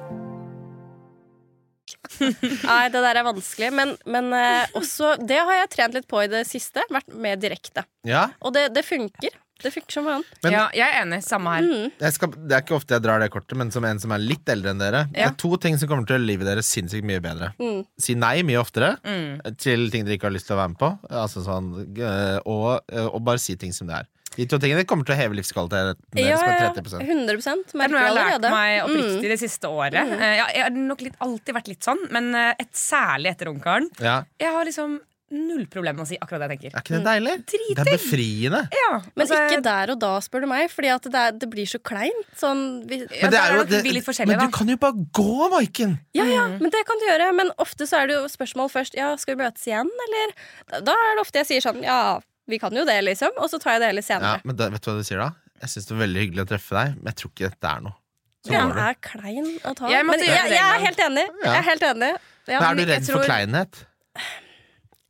Nei, det der er vanskelig. Men, men eh, også det har jeg trent litt på i det siste. Vært mer direkte.
Ja,
Og det, det funker. Det funker som faen.
Men-
ja, jeg er enig. Samme her.
Mm,
jeg skal, det er ikke ofte jeg drar det kortet, men som en som er litt eldre enn dere Det
Ja.
er to ting som kommer til å gjøre livet deres sinnssykt mye bedre.
Mm.
Si nei mye oftere eh,
Mm.
til ting dere ikke har lyst til å være med på, altså sånn, øh, og, øh, og bare si ting som det er. De to tingene kommer til å heve livskvaliteten deres med 30
100
Det
merker
er noe
jeg
jeg har lært
allerede.
meg
Mm.
oppriktig det siste året. Eh, ja, jeg har nok litt, alltid vært litt sånn, men eh, et særlig etter ungkaren.
ja.
Jeg har liksom null problem med å si akkurat det jeg tenker.
Er ikke det deilig?
Dritdigg.
Det er befriende.
Ja,
Men
altså,
ikke der og da, spør du meg, Fordi at det, er, det blir så kleint. Sånn, vi,
Ja,
det
der
er jo
er nok
det-
vi litt
men
forskjellige,
du
da.
kan jo bare gå, Maiken!
Ja, ja,
Mm.
men det kan du gjøre. Men ofte så er det jo spørsmål først. Ja, skal vi møtes igjen, eller? Da- Da er det ofte jeg sier sånn, ja, vi kan jo det, liksom. Og så tar jeg det heller
Ja,
senere.
men da, vet du hva du sier da? Jeg syns det var veldig hyggelig å treffe deg, men jeg tror ikke dette er noe. Så går
Den
du.
er klein å ta.
Jeg måtte
men
gjøre
jeg, jeg
det en
er
gang.
helt enig. Jeg er helt enig. Ja,
Men
men
er du
jeg
redd
tror-
for kleinhet?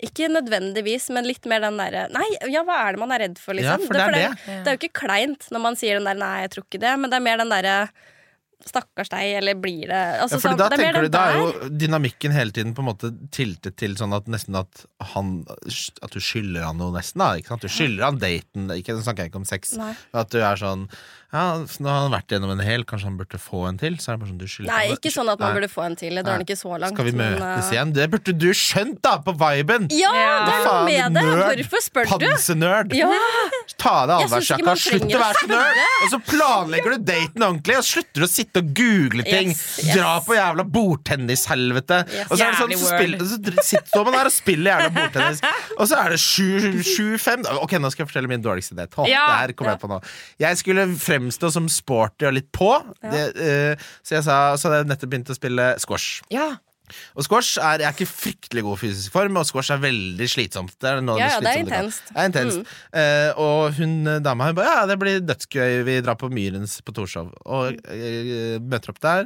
Ikke nødvendigvis, men litt mer den derre Nei, ja, hva er det man er redd for,
Ja,
liksom?
for det er
er- det er jo ikke kleint når man sier den der nei, jeg tror ikke det, men det er mer den derre Stakkars deg, eller blir det altså,
Ja, for
sånn-
da
det er mer
tenker du,
den
da er
der.
jo dynamikken hele tiden på en måte tiltet til sånn at nesten at han At du skylder han noe, nesten. da ikke sant? Du skylder han daten. Ikke, nå snakker jeg ikke om sex.
Nei.
At du er sånn Ja, så nå har han vært gjennom en hel, kanskje han burde få en til? Så er det bare sånn du skylder
Nei,
han-
ikke sånn at man
Nei.
burde få en til. Det drar den ikke så langt.
Skal vi
men,
møtes
eh,
igjen? Det burde du skjønt, da! På viben!
Ja,
Ja.
det er noe
Faen,
med det!
nerd.
Hvorfor spør du?
Pansenerd!
Ja,
Ta av deg
Jeg synes ikke
allværsjakka,
man
slutt å
trenger å
være så nerd! Og så planlegger du daten ordentlig, og slutter å sitte og google ting.
Yes, yes.
Dra på jævla bordtennishelvete.
Yes.
Og så, er det sånn,
Jævlig
så, spiller, så dr- sitter man der og spiller jævla bordtennis, og så er det sju- sju-fem Ok, nå skal jeg fortelle min dårligste date. Å,
Ja.
det her kom jeg på nå. Jeg skulle fremstå som sporty og litt på, det, eh, så jeg sa Så hadde jeg nettopp begynt å spille squash.
Ja,
Og squash er, jeg er ikke fryktelig god i fysisk form, og squash er veldig slitsomt. Det er noe av
Ja, ja, det er
slitsomme kan.
intenst.
Det
Mm.
er intenst. Eh, og hun eh, dama hun ba, ja, det blir dødsgøy, vi drar på Myrens på Torshov. Og eh, møter opp der.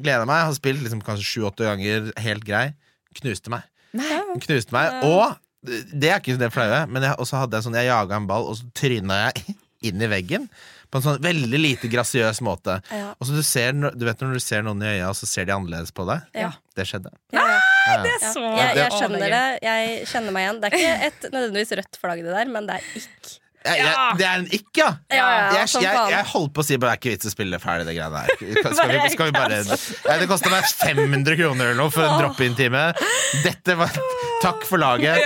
Gleder meg. Har spilt liksom, kanskje sju-åtte ganger, helt grei. Knuste meg. Hun knuste meg. Og eh, det er ikke det flaue, men jeg, og så hadde jeg sånn, jeg jaga en ball, og så tryna jeg inn i veggen. På en sånn veldig lite grasiøs måte.
Ja.
Og så du, ser, du vet når du ser noen i øya, og så ser de annerledes på deg?
Ja.
Det skjjedde.
ja, ja.
det er så
Jeg, jeg
Å,
skjønner det.
er gøy.
Jeg kjenner meg igjen. Det er ikke et nødvendigvis rødt flagg, det der, men det er ikk.
Jeg, jeg,
Ja!
det er en ikk, ja!
Ja, ja, ja,
jeg,
som
jeg,
faen.
jeg holdt på å si bare det er ikke vits å spille ferdig det greiene her. Skal, skal, vi, skal vi bare Nei, Det kosta meg 500 kroner eller noe for en drop-in-time. Dette var Takk for laget.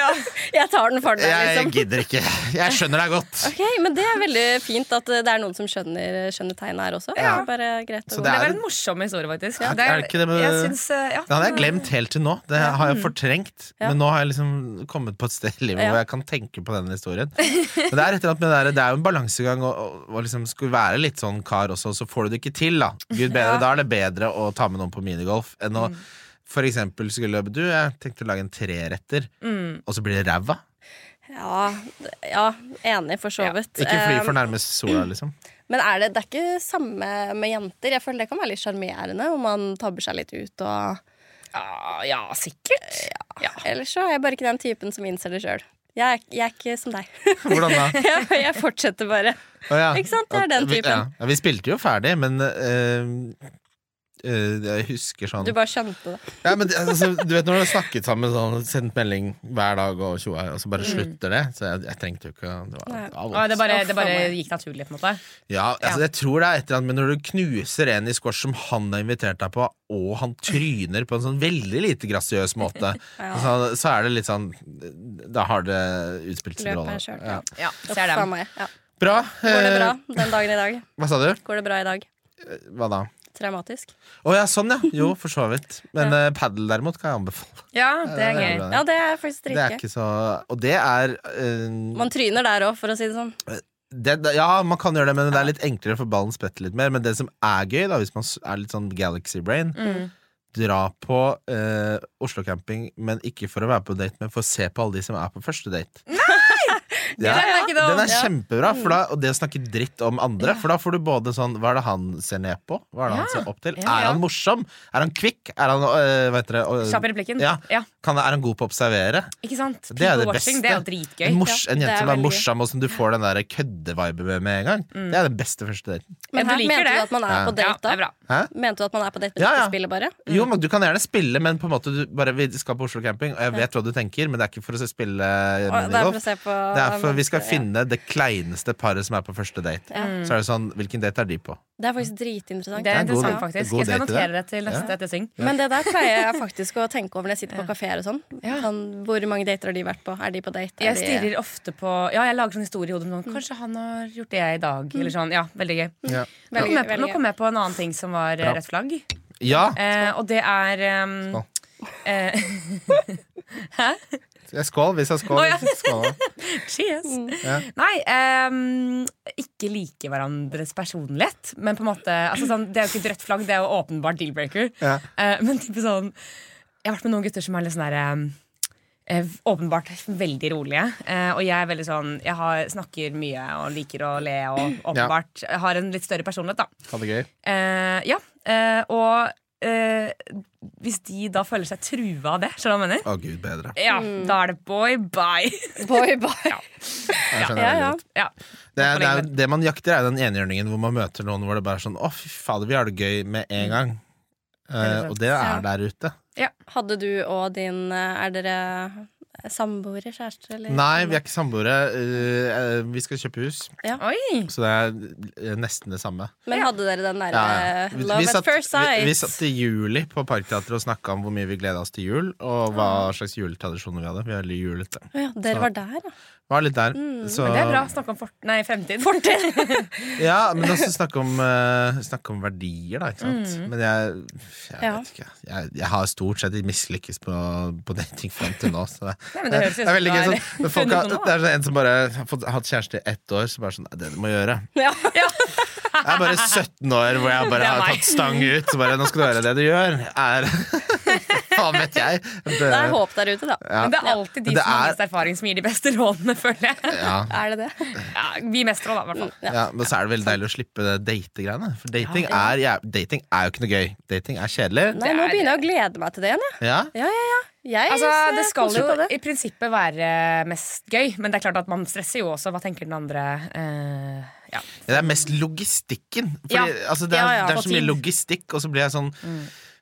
Jeg tar den for deg,
Jeg
liksom.
gidder ikke. Jeg skjønner deg godt.
Ok, Men det er veldig fint at det er noen som skjønner, skjønner tegnet her også. Det er bare greit
Så
å
det
Det
er-
var en morsom historie, faktisk.
Ja, er det ikke det med-
jeg synes, eh, ja,
Det hadde jeg glemt helt til nå. Det har jeg fortrengt.
Mm. Ja.
Men nå har jeg liksom kommet på et sted i livet
Ja.
hvor jeg kan tenke på den historien. Men det er, et eller annet med det, der, det er jo en balansegang å å- å liksom skulle være litt sånn kar også, så får du det ikke til, da. Gud bedre, Da er det bedre å ta med noen på minigolf enn
Mm.
å For eksempel skulle du Jeg tenkte å lage en treretter,
Mm.
og så blir det ræva.
Ja, d- ja, enig, for så vidt.
Ikke fly for
Eh,
nærme sola, liksom.
Men er det, det er ikke samme med jenter. Jeg føler det kan være litt sjarmerende om man tabber seg litt ut og
Ja, ja, sikkert. Ja.
Ellers så er jeg bare ikke den typen som innser det sjøl. Jeg, er- jeg er ikke som deg.
Hvordan da?
jeg, jeg fortsetter bare.
Å, ja.
Ikke sant? Det er den
Vi- Ja.
typen.
Ja, vi spilte jo ferdig, men eh, eh, jeg husker sånn
Du bare skjønte det.
Ja, men det- altså, du vet når du har snakket sammen sånn, Sendt melding hver dag og tjoa Og så bare slutter det Så jeg, jeg trengte jo ikke å- det var,
Mm. Nei.
det var
Ja,
vondt.
det bare,
Å,
det bare
faen meg.
gikk naturlig, på en måte.
ja, altså, Jeg tror det er et eller annet Men når du knuser en i squash Som han har invitert deg på Og han tryner på en sånn veldig lite graciøs måte så, så er det litt sånn Da har det utspilt sin
Løpet
rolle
er kjørt,
ja.
ja.
Ja,
Uff
ser
a
dem.
meg. Ja.
Bra.
Går det
Eh,
bra den dagen i dag?
Hva sa du?
Går det bra i dag?
Hva da?
Traumatisk?
Å ja, sånn ja. Jo, for så vidt. Men eh, padel derimot kan jeg anbefale.
Ja, det er gøy.
bra.
Ja, det er faktisk
Det er
dritgøy.
ikke så Og det er eh,
Man tryner der òg, for å si det sånn.
det, det- Ja, man kan gjøre det, men det er litt enklere for ballen spretter litt mer. Men det som er gøy, da hvis man s- er litt sånn galaxy brain
Mm.
Dra på eh, Oslo camping, men ikke for å være på date, men for å se på alle de som er på første date. Nei!
Den er ikke dum.
Den er
Ja.
kjempebra, for da, og det å snakke dritt om andre. For da får du både sånn Hva er det han ser ned på? Hva er det han ser opp til?
ja.
Er han morsom? Er han kvikk? Er han øh, Hva heter det? øh,
Kjapp i replikken.
Ja.
Ja,
Kan, er han god på å observere?
ikke sant?
Det er det
People watching,
beste.
Det er jo dritgøy.
En, mors,
Ja,
en
det
jente
er
som er
veldig gøy.
morsom, og som du får den der kødde-viben med med en gang. Det er den beste første daten.
Ja,
Men
du
her
liker
mente
det.
du at man er på
Ja, det
date,
er
da?
bra.
Hæ?
Mente du at man er på date med
Ja, ja.
spillet bare?
Jo, men Du kan gjerne spille, men på en måte du bare, vi skal på Oslo camping, og jeg vet hva du tenker, men det er ikke for å spille
Og det er for å
minigolf.
se på
Det er for vi skal
Ja.
finne det kleineste paret som er på første date. Så er det sånn, Hvilken date er de på?
Det er faktisk dritinteressant.
Det er
en god-
interessant, faktisk.
god
Jeg skal
date,
notere
det.
det til neste ettersyng.
Men det der pleier jeg faktisk å tenke over når jeg sitter på kafeer og sånn. Sånn, Hvor mange dater har de vært på? Er de på date? Er
Jeg
de-
stirrer ofte på Ja, jeg lager sånn historie i hodet.
Mm.
men Sånn, Kanskje han har gjort det i dag. Eller sånn. Ja, veldig gøy.
Ja.
Nå kom
Veldig,
jeg på, nå
veldig gøy.
kom jeg på en annen ting som var eh,
Bra.
rødt flagg.
ja!
Eh, og det er ehm,
Skål.
eh,
Jeg Skål, vi sa skål.
Å, ja.
skål.
Cheers!
Ja.
Nei, ehm, ikke like hverandres personlighet. Men på en måte altså sånn, Det er jo ikke et rødt flagg, det er jo åpenbart deal-breaker.
Ja.
Eh, men type sånn Jeg har vært med noen gutter som er litt sånn derre eh, Åpenbart veldig rolige. Eh, og jeg er veldig sånn Jeg har, snakker mye og liker å le og åpenbart har en litt større personlighet, da.
Ha det gøy.
Eh, ja, eh, og eh, hvis de da føler seg trua av det, skjønner du hva jeg mener?
Å, gud bedre.
Ja,
Mm.
da er det boy bye.
Boy, boy.
Jeg skjønner
Ja,
veldig
ja.
godt.
ja.
Det, er, det, er,
Forlenge
det man jakter, er den enhjørningen hvor man møter noen hvor det bare er sånn Å, fy fader, vi har det gøy med en gang. Eh, og det er der ute.
Hadde du og din eh, Er dere samboere, kjærester, eller?
Nei, vi er ikke samboere. Eh, eh, vi skal kjøpe hus,
Mm.
Oi!
så det er eh, nesten det samme.
Men hadde dere den derre
Ja, ja.
eh, love at first sight?
vi, vi satt i juli på Parkteatret og snakka om hvor mye vi gleda oss til jul, og hva
Ah.
slags juletradisjoner vi hadde. Vi er veldig julete.
Å ja, dere var der, ja.
Var litt der. Så,
Mm, Men det er bra. Snakke om fort, nei, fremtid.
Ja, men også snakke om, eh, snakke om verdier, da. Ikke sant?
Mm.
Men jeg, jeg
Ja.
vet ikke. Jeg, jeg har stort sett mislykkes på, på dating fram til nå. Så det,
Nei, men det høres ut
er veldig gøy.
som
Sånn,
du har
men folk
funnet
har,
noe nå.
det er sånn en som bare har fått, hatt kjæreste i ett år, så bare sånn Det er det du må gjøre.
Ja.
Jeg er bare 17 år hvor jeg
Det
bare
er
har
meg.
tatt stang ut. Så bare, nå skal du gjøre det du gjør. Er Faen vet jeg.
Det er
Det,
håp der ute, da.
Men det er alltid de
Det
som har
er-
mest erfaring, som gir de beste rådene, føler jeg.
ja.
Er det det?
Ja, vi mestre da, i hvert fall.
Mm.
Ja, men så er det veldig deilig å slippe det date-greiene. For dating, er, jæv- dating er jo ikke noe gøy. Dating er kjedelig.
Nei, nå begynner jeg å glede meg til det igjen, jeg.
Ja.
Ja, ja, ja. Jeg
Altså,
ser
det skal
positivt
jo
eh, på det.
i prinsippet være mest gøy, men det er klart at man stresser jo også. Hva tenker den andre? Eh, ja.
Det er mest logistikken. Fordi,
Ja.
altså, det, er,
Ja, ja,
det er
og
så mye
tid.
logistikk, og så blir jeg sånn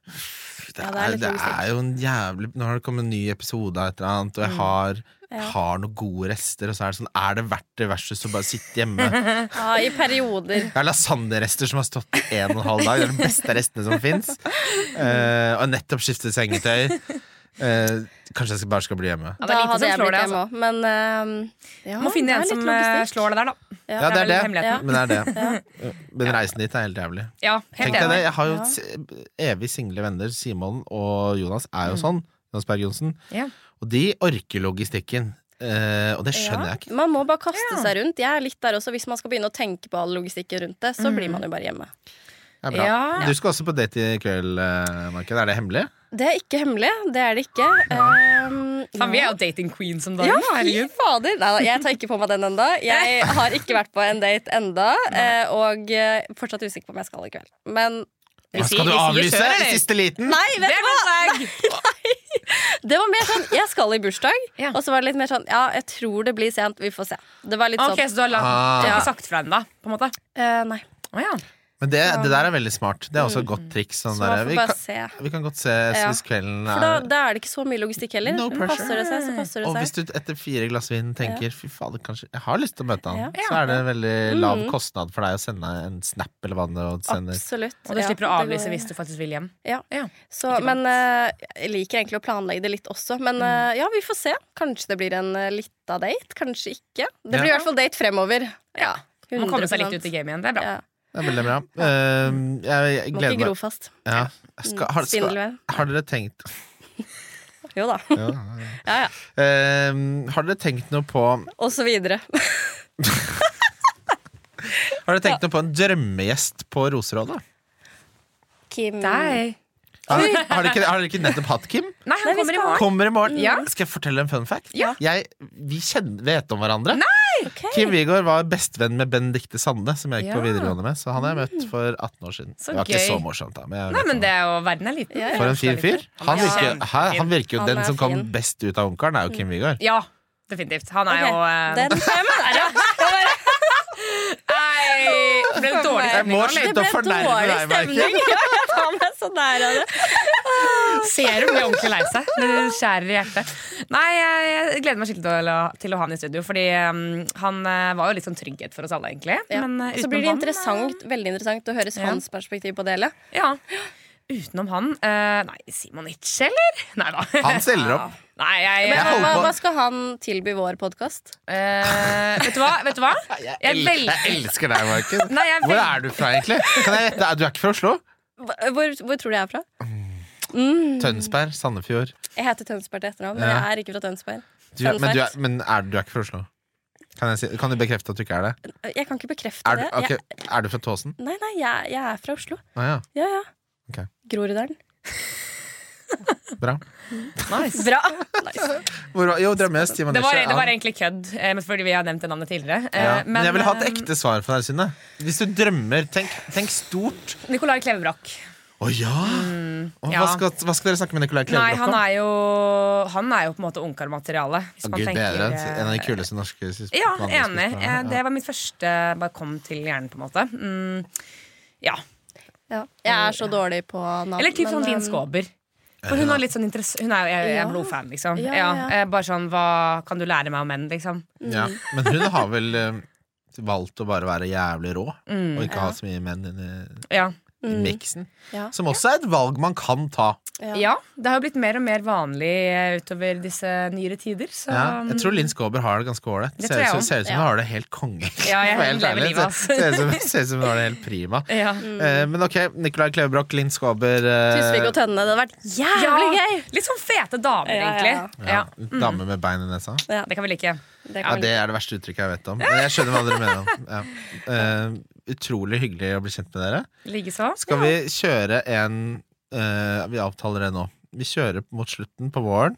det,
Ja, det er
er,
litt
det
logistikk.
er jo en jævlig Nå har det kommet en ny episode av et eller annet, og jeg har, har noen gode rester, og så er det sånn Er det verdt det versus å bare sitte hjemme?
Ja, I perioder.
Jeg har lasagnerester som har stått i en og en halv dag. Det er de beste restene som fins. og nettopp skiftet sengetøy. Eh, kanskje jeg skal- bare skal bli hjemme.
Ja, det
Da
er lite
hadde
som
jeg
slår
blitt
det,
hjemme
altså.
òg. Men eh, ja,
Må finne
det
en
er
som
litt
eh,
logistikk.
slår det der, da.
Ja, det er
Det er vel
det.
hemmeligheten.
Men det er det. Men reisen dit er helt jævlig.
Ja,
Tenk
helt
deg det,
enig.
Jeg har jo s- evig single venner. Simon og Jonas er jo sånn. Jonas Berg Johnsen.
Mm. Ja.
Og de orker logistikken. Eh, og det skjønner jeg ikke.
Man må bare kaste seg rundt. Jeg er litt der også. Hvis man skal begynne å tenke på all logistikken rundt det, så
Mm.
blir man jo bare hjemme.
Det er bra.
Ja.
Du skal også på date i kveld, eh, Marken. Er det hemmelig?
Det er ikke hemmelig. Det er det ikke. Ehm,
Faen, vi er jo dating queens om dagen.
Ja,
da,
fy
herregud.
fader! Neida, jeg tar ikke på meg den enda Jeg har ikke vært på en date enda eh, og eh, fortsatt usikker på om jeg skal i kveld. Men
Vi sier-
Skal du
vi sier
avlyse
kjør, eller?
i siste liten?
Nei,
Det
vet
er
du hva!
rødt flagg!
Det var mer sånn jeg skal i bursdag,
Ja.
og så var det litt mer sånn ja, jeg tror det blir sent, vi får se. Det var litt
Ok,
sånn
så du har la-
Ah.
du har ikke sagt fra ennå, på en måte?
eh, Nei.
Å ja.
Men det, det der er veldig smart. Det er også et godt triks. Sånn
Mm. Så man
der,
får
vi,
bare
kan,
se.
vi kan godt ses
Ja.
hvis kvelden
For da,
er
da er det ikke så mye logistikk heller.
No pressure.
passer det seg, så passer
Og
det
hvis
seg.
du etter fire glass vin tenker Fy fader, kanskje jeg har lyst til å møte han,
Ja. Mm.
så er det en veldig lav kostnad for deg å sende en snap eller hva det nå sender.
Absolutt.
Og du
ja,
slipper å
det går-
avlyse hvis du faktisk vil hjem.
Ja.
Ja.
Så, men eh, jeg liker egentlig å planlegge det litt også. Men
Mm.
eh, ja, vi får se. Kanskje det blir en uh, lita date, kanskje ikke. Det blir i
Ja.
hvert fall date fremover. Ja,
Man kommer seg litt
100%.
ut i gamet igjen. Det er bra.
Ja.
Det er veldig bra. Ehm, jeg, jeg
Må
gleder
ikke gro
meg.
fast.
Ja. Skal, har, skal,
Spindelvev.
har dere tenkt
Jo da.
ja,
Ja, ja.
Ehm, Har dere tenkt noe på Har
Og så videre.
dere tenkt noe på en drømmegjest på Roserådet?
Kim.
Dei.
Har, har, dere ikke, har dere ikke nettopp hatt Kim?
Nei, han
Nei, vi
kommer i
skal-
morgen.
Kommer i morgen.
Ja.
Skal jeg fortelle en fun fact?
Ja.
Jeg, vi kjenner, vet om hverandre.
Ok.
Kim Wigård var bestevenn med Benedicte Sande, som jeg gikk på
Ja. Mm.
videregående med. Så han har jeg møtt for 18 år siden.
Så
det var ikke
gøy.
så morsomt, da. Men jeg
Nei,
vet
men
om
det er jo Verden er liten.
Ja, ja.
For en fin fyr. Han
Ja.
virker, hæ, han virker jo
Han
Den
er
som kom
fin.
best ut av ungkaren, er jo
Mm.
Kim Wigård.
Ja, definitivt. Han er
Ok,
jo eh,
Den tar jeg med deg. ja.
Nei! Det ble en dårlig
Jeg må
stemning.
slutte å fornærme
dårlig
deg, Michael.
stemning. Ja, jeg tar meg så nær av det.
Ser hun blir ordentlig lei seg. Det skjærer i hjertet. Nei, jeg, jeg gleder meg skikkelig til å, til å ha han i studio, fordi um, han eh, var jo litt sånn trygghet for oss alle, egentlig.
Ja.
Men, eh,
så
utenom
blir det
han,
interessant, veldig interessant å høre hans perspektiv på det hele.
eh, Ja. Utenom han eh, Nei, Simon Itche, eller? Nei da.
Han stiller opp.
Nei, jeg,
Jeg
Men hva,
holder på-
hva skal han tilby vår podkast?
eh, Vet du hva? Vet du hva? Jeg er
El-
veldig-
Jeg elsker deg, Michael.
Nei, jeg er
Hvor
veldig-
er du fra, egentlig? Kan jeg gjette? Du er ikke fra Oslo?
Hvor, hvor tror du jeg er fra?
Mm.
Tønsberg? Sandefjord?
Mm, Jeg heter Tønsberg til etternavn, men
Ja.
jeg er ikke fra Tønsberg.
Du,
Fun
men du er,
fact.
men er, du er ikke fra Oslo? Kan, jeg si, kan du bekrefte at du ikke er det?
Jeg kan ikke bekrefte
Er du,
det.
ok,
Jeg,
er du fra Tåsen?
nei, nei, jeg, jeg er fra Oslo.
Å ja,
Ja, ja.
Ok.
Groruddalen.
bra.
Nice.
Bra! Nice.
Hvor, var- jo, drømmes, Timon
Det var,
Nesje,
det var
han-
egentlig kødd, eh, men fordi vi har nevnt det navnet tidligere. Eh,
ja. Men jeg vil ha et
eh,
ekte svar fra deg, Synne. Hvis du drømmer, tenk, tenk stort.
Nicolai Klevebrok.
Å ja! Og hva,
Mm, ja.
skal, hva skal dere snakke med Nicolai
Nei,
Kleverbrok
han
om?
er jo Han er jo på en måte ungkarmateriale. Hvis
Å,
man
Gud
tenker
bedre.
eh,
En av de kuleste norske sus-
Ja,
vanlige
enig.
skuespillerne. Ja.
Eh, Det var mitt første Bare kom til hjernen, på en måte. Mm, ja.
Ja. Jeg er så dårlig på navn.
Eller typ
men,
sånn Linn
um,
Skåber. For hun, har litt sånn interesse, hun er jo jeg, jeg
Ja.
er blodfan, liksom.
Ja,
Ja,
ja.
eh, bare sånn Hva kan du lære meg om menn, liksom?
Ja, men hun har vel eh, valgt å bare være jævlig rå,
Mm,
og ikke ha så mye menn inn i,
Ja.
i
Mm,
miksen.
Ja.
Som også er et valg man kan ta.
Ja.
ja. Det har jo blitt mer og mer vanlig eh, utover disse nyere tider, så mm,
Ja, jeg tror Linn Skåber har det ganske ålreit.
Um, Det
Ser ut
tror jeg
som,
også.
ser ut som hun har det helt konge.
Ja, jeg
For helt
lever
ærlig,
livet, altså. Mm. ass.
ser, ser, ut som- ser ut som hun har det helt prima.
ja.
Eh, men ok, Nicolai Klevebrok, Linn Skåber eh,
Tusvik og Tønne. Det hadde vært jævlig
Ja,
gøy!
Litt sånn fete damer,
Ja, ja, ja.
egentlig. Ja. Mm.
Dame med bein i nesa.
Ja,
Det kan vi like.
det
Ja,
kan
Det er det verste uttrykket jeg vet om. Men jeg skjønner hva dere mener om. Ja. Eh, utrolig hyggelig å bli kjent med dere.
Likeså.
Skal vi kjøre en eh, Vi avtaler det nå. Vi kjører mot slutten på våren.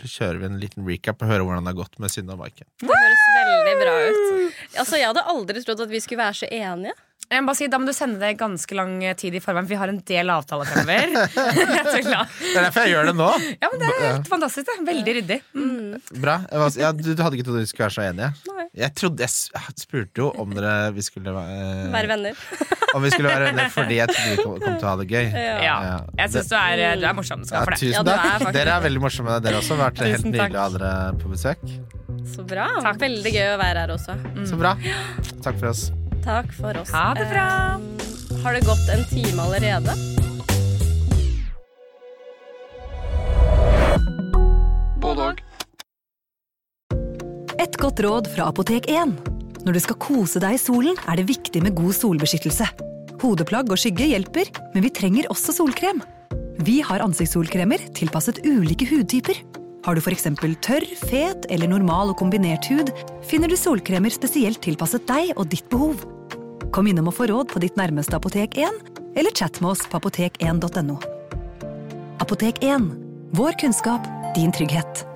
Så kjører vi en liten recap og hører hvordan det har gått med Synne og Maiken.
Det høres veldig bra ut. Altså, Jeg hadde aldri trodd at vi skulle være så enige.
Jeg må bare si, Da må du sende det ganske lang eh, tid i forveien, for vi har en del avtaler fremover. Jeg er så glad.
Det er derfor jeg gjør det nå!
ja, men Det er helt fantastisk. det. Veldig ryddig.
Bra. Jeg var, ja, du, du hadde ikke trodd vi skulle være så enige?
Nei.
Jeg trodde, jeg s- spurte jo om dere vi skulle være-
Være venner.
Om vi skulle være venner fordi jeg trodde vi kom, kom til å ha det gøy.
Ja, Jeg syns du, er- eh, du er morsom. Skal
Ja,
ha for det.
tusen
Ja, du er
takk.
faktisk-
Dere er veldig morsomme, dere også. Det har vært helt
Tusen
nydelig
takk.
å ha dere på besøk.
Så bra. Veldig gøy å være her også.
Så bra. Takk for oss.
Mm. Takk for oss.
Ha det bra.
Eh, Har det gått en time allerede?
Et godt råd fra Apotek 1. Når du skal kose deg i solen, er det viktig med god solbeskyttelse. Hodeplagg og skygge hjelper, men vi trenger også solkrem. Vi har ansiktssolkremer tilpasset ulike hudtyper. Har du f.eks. tørr, fet eller normal og kombinert hud, finner du solkremer spesielt tilpasset deg og ditt behov. Kom innom og få råd på ditt nærmeste Apotek 1, eller chat med oss på apotek1.no. Apotek 1 vår kunnskap, din trygghet.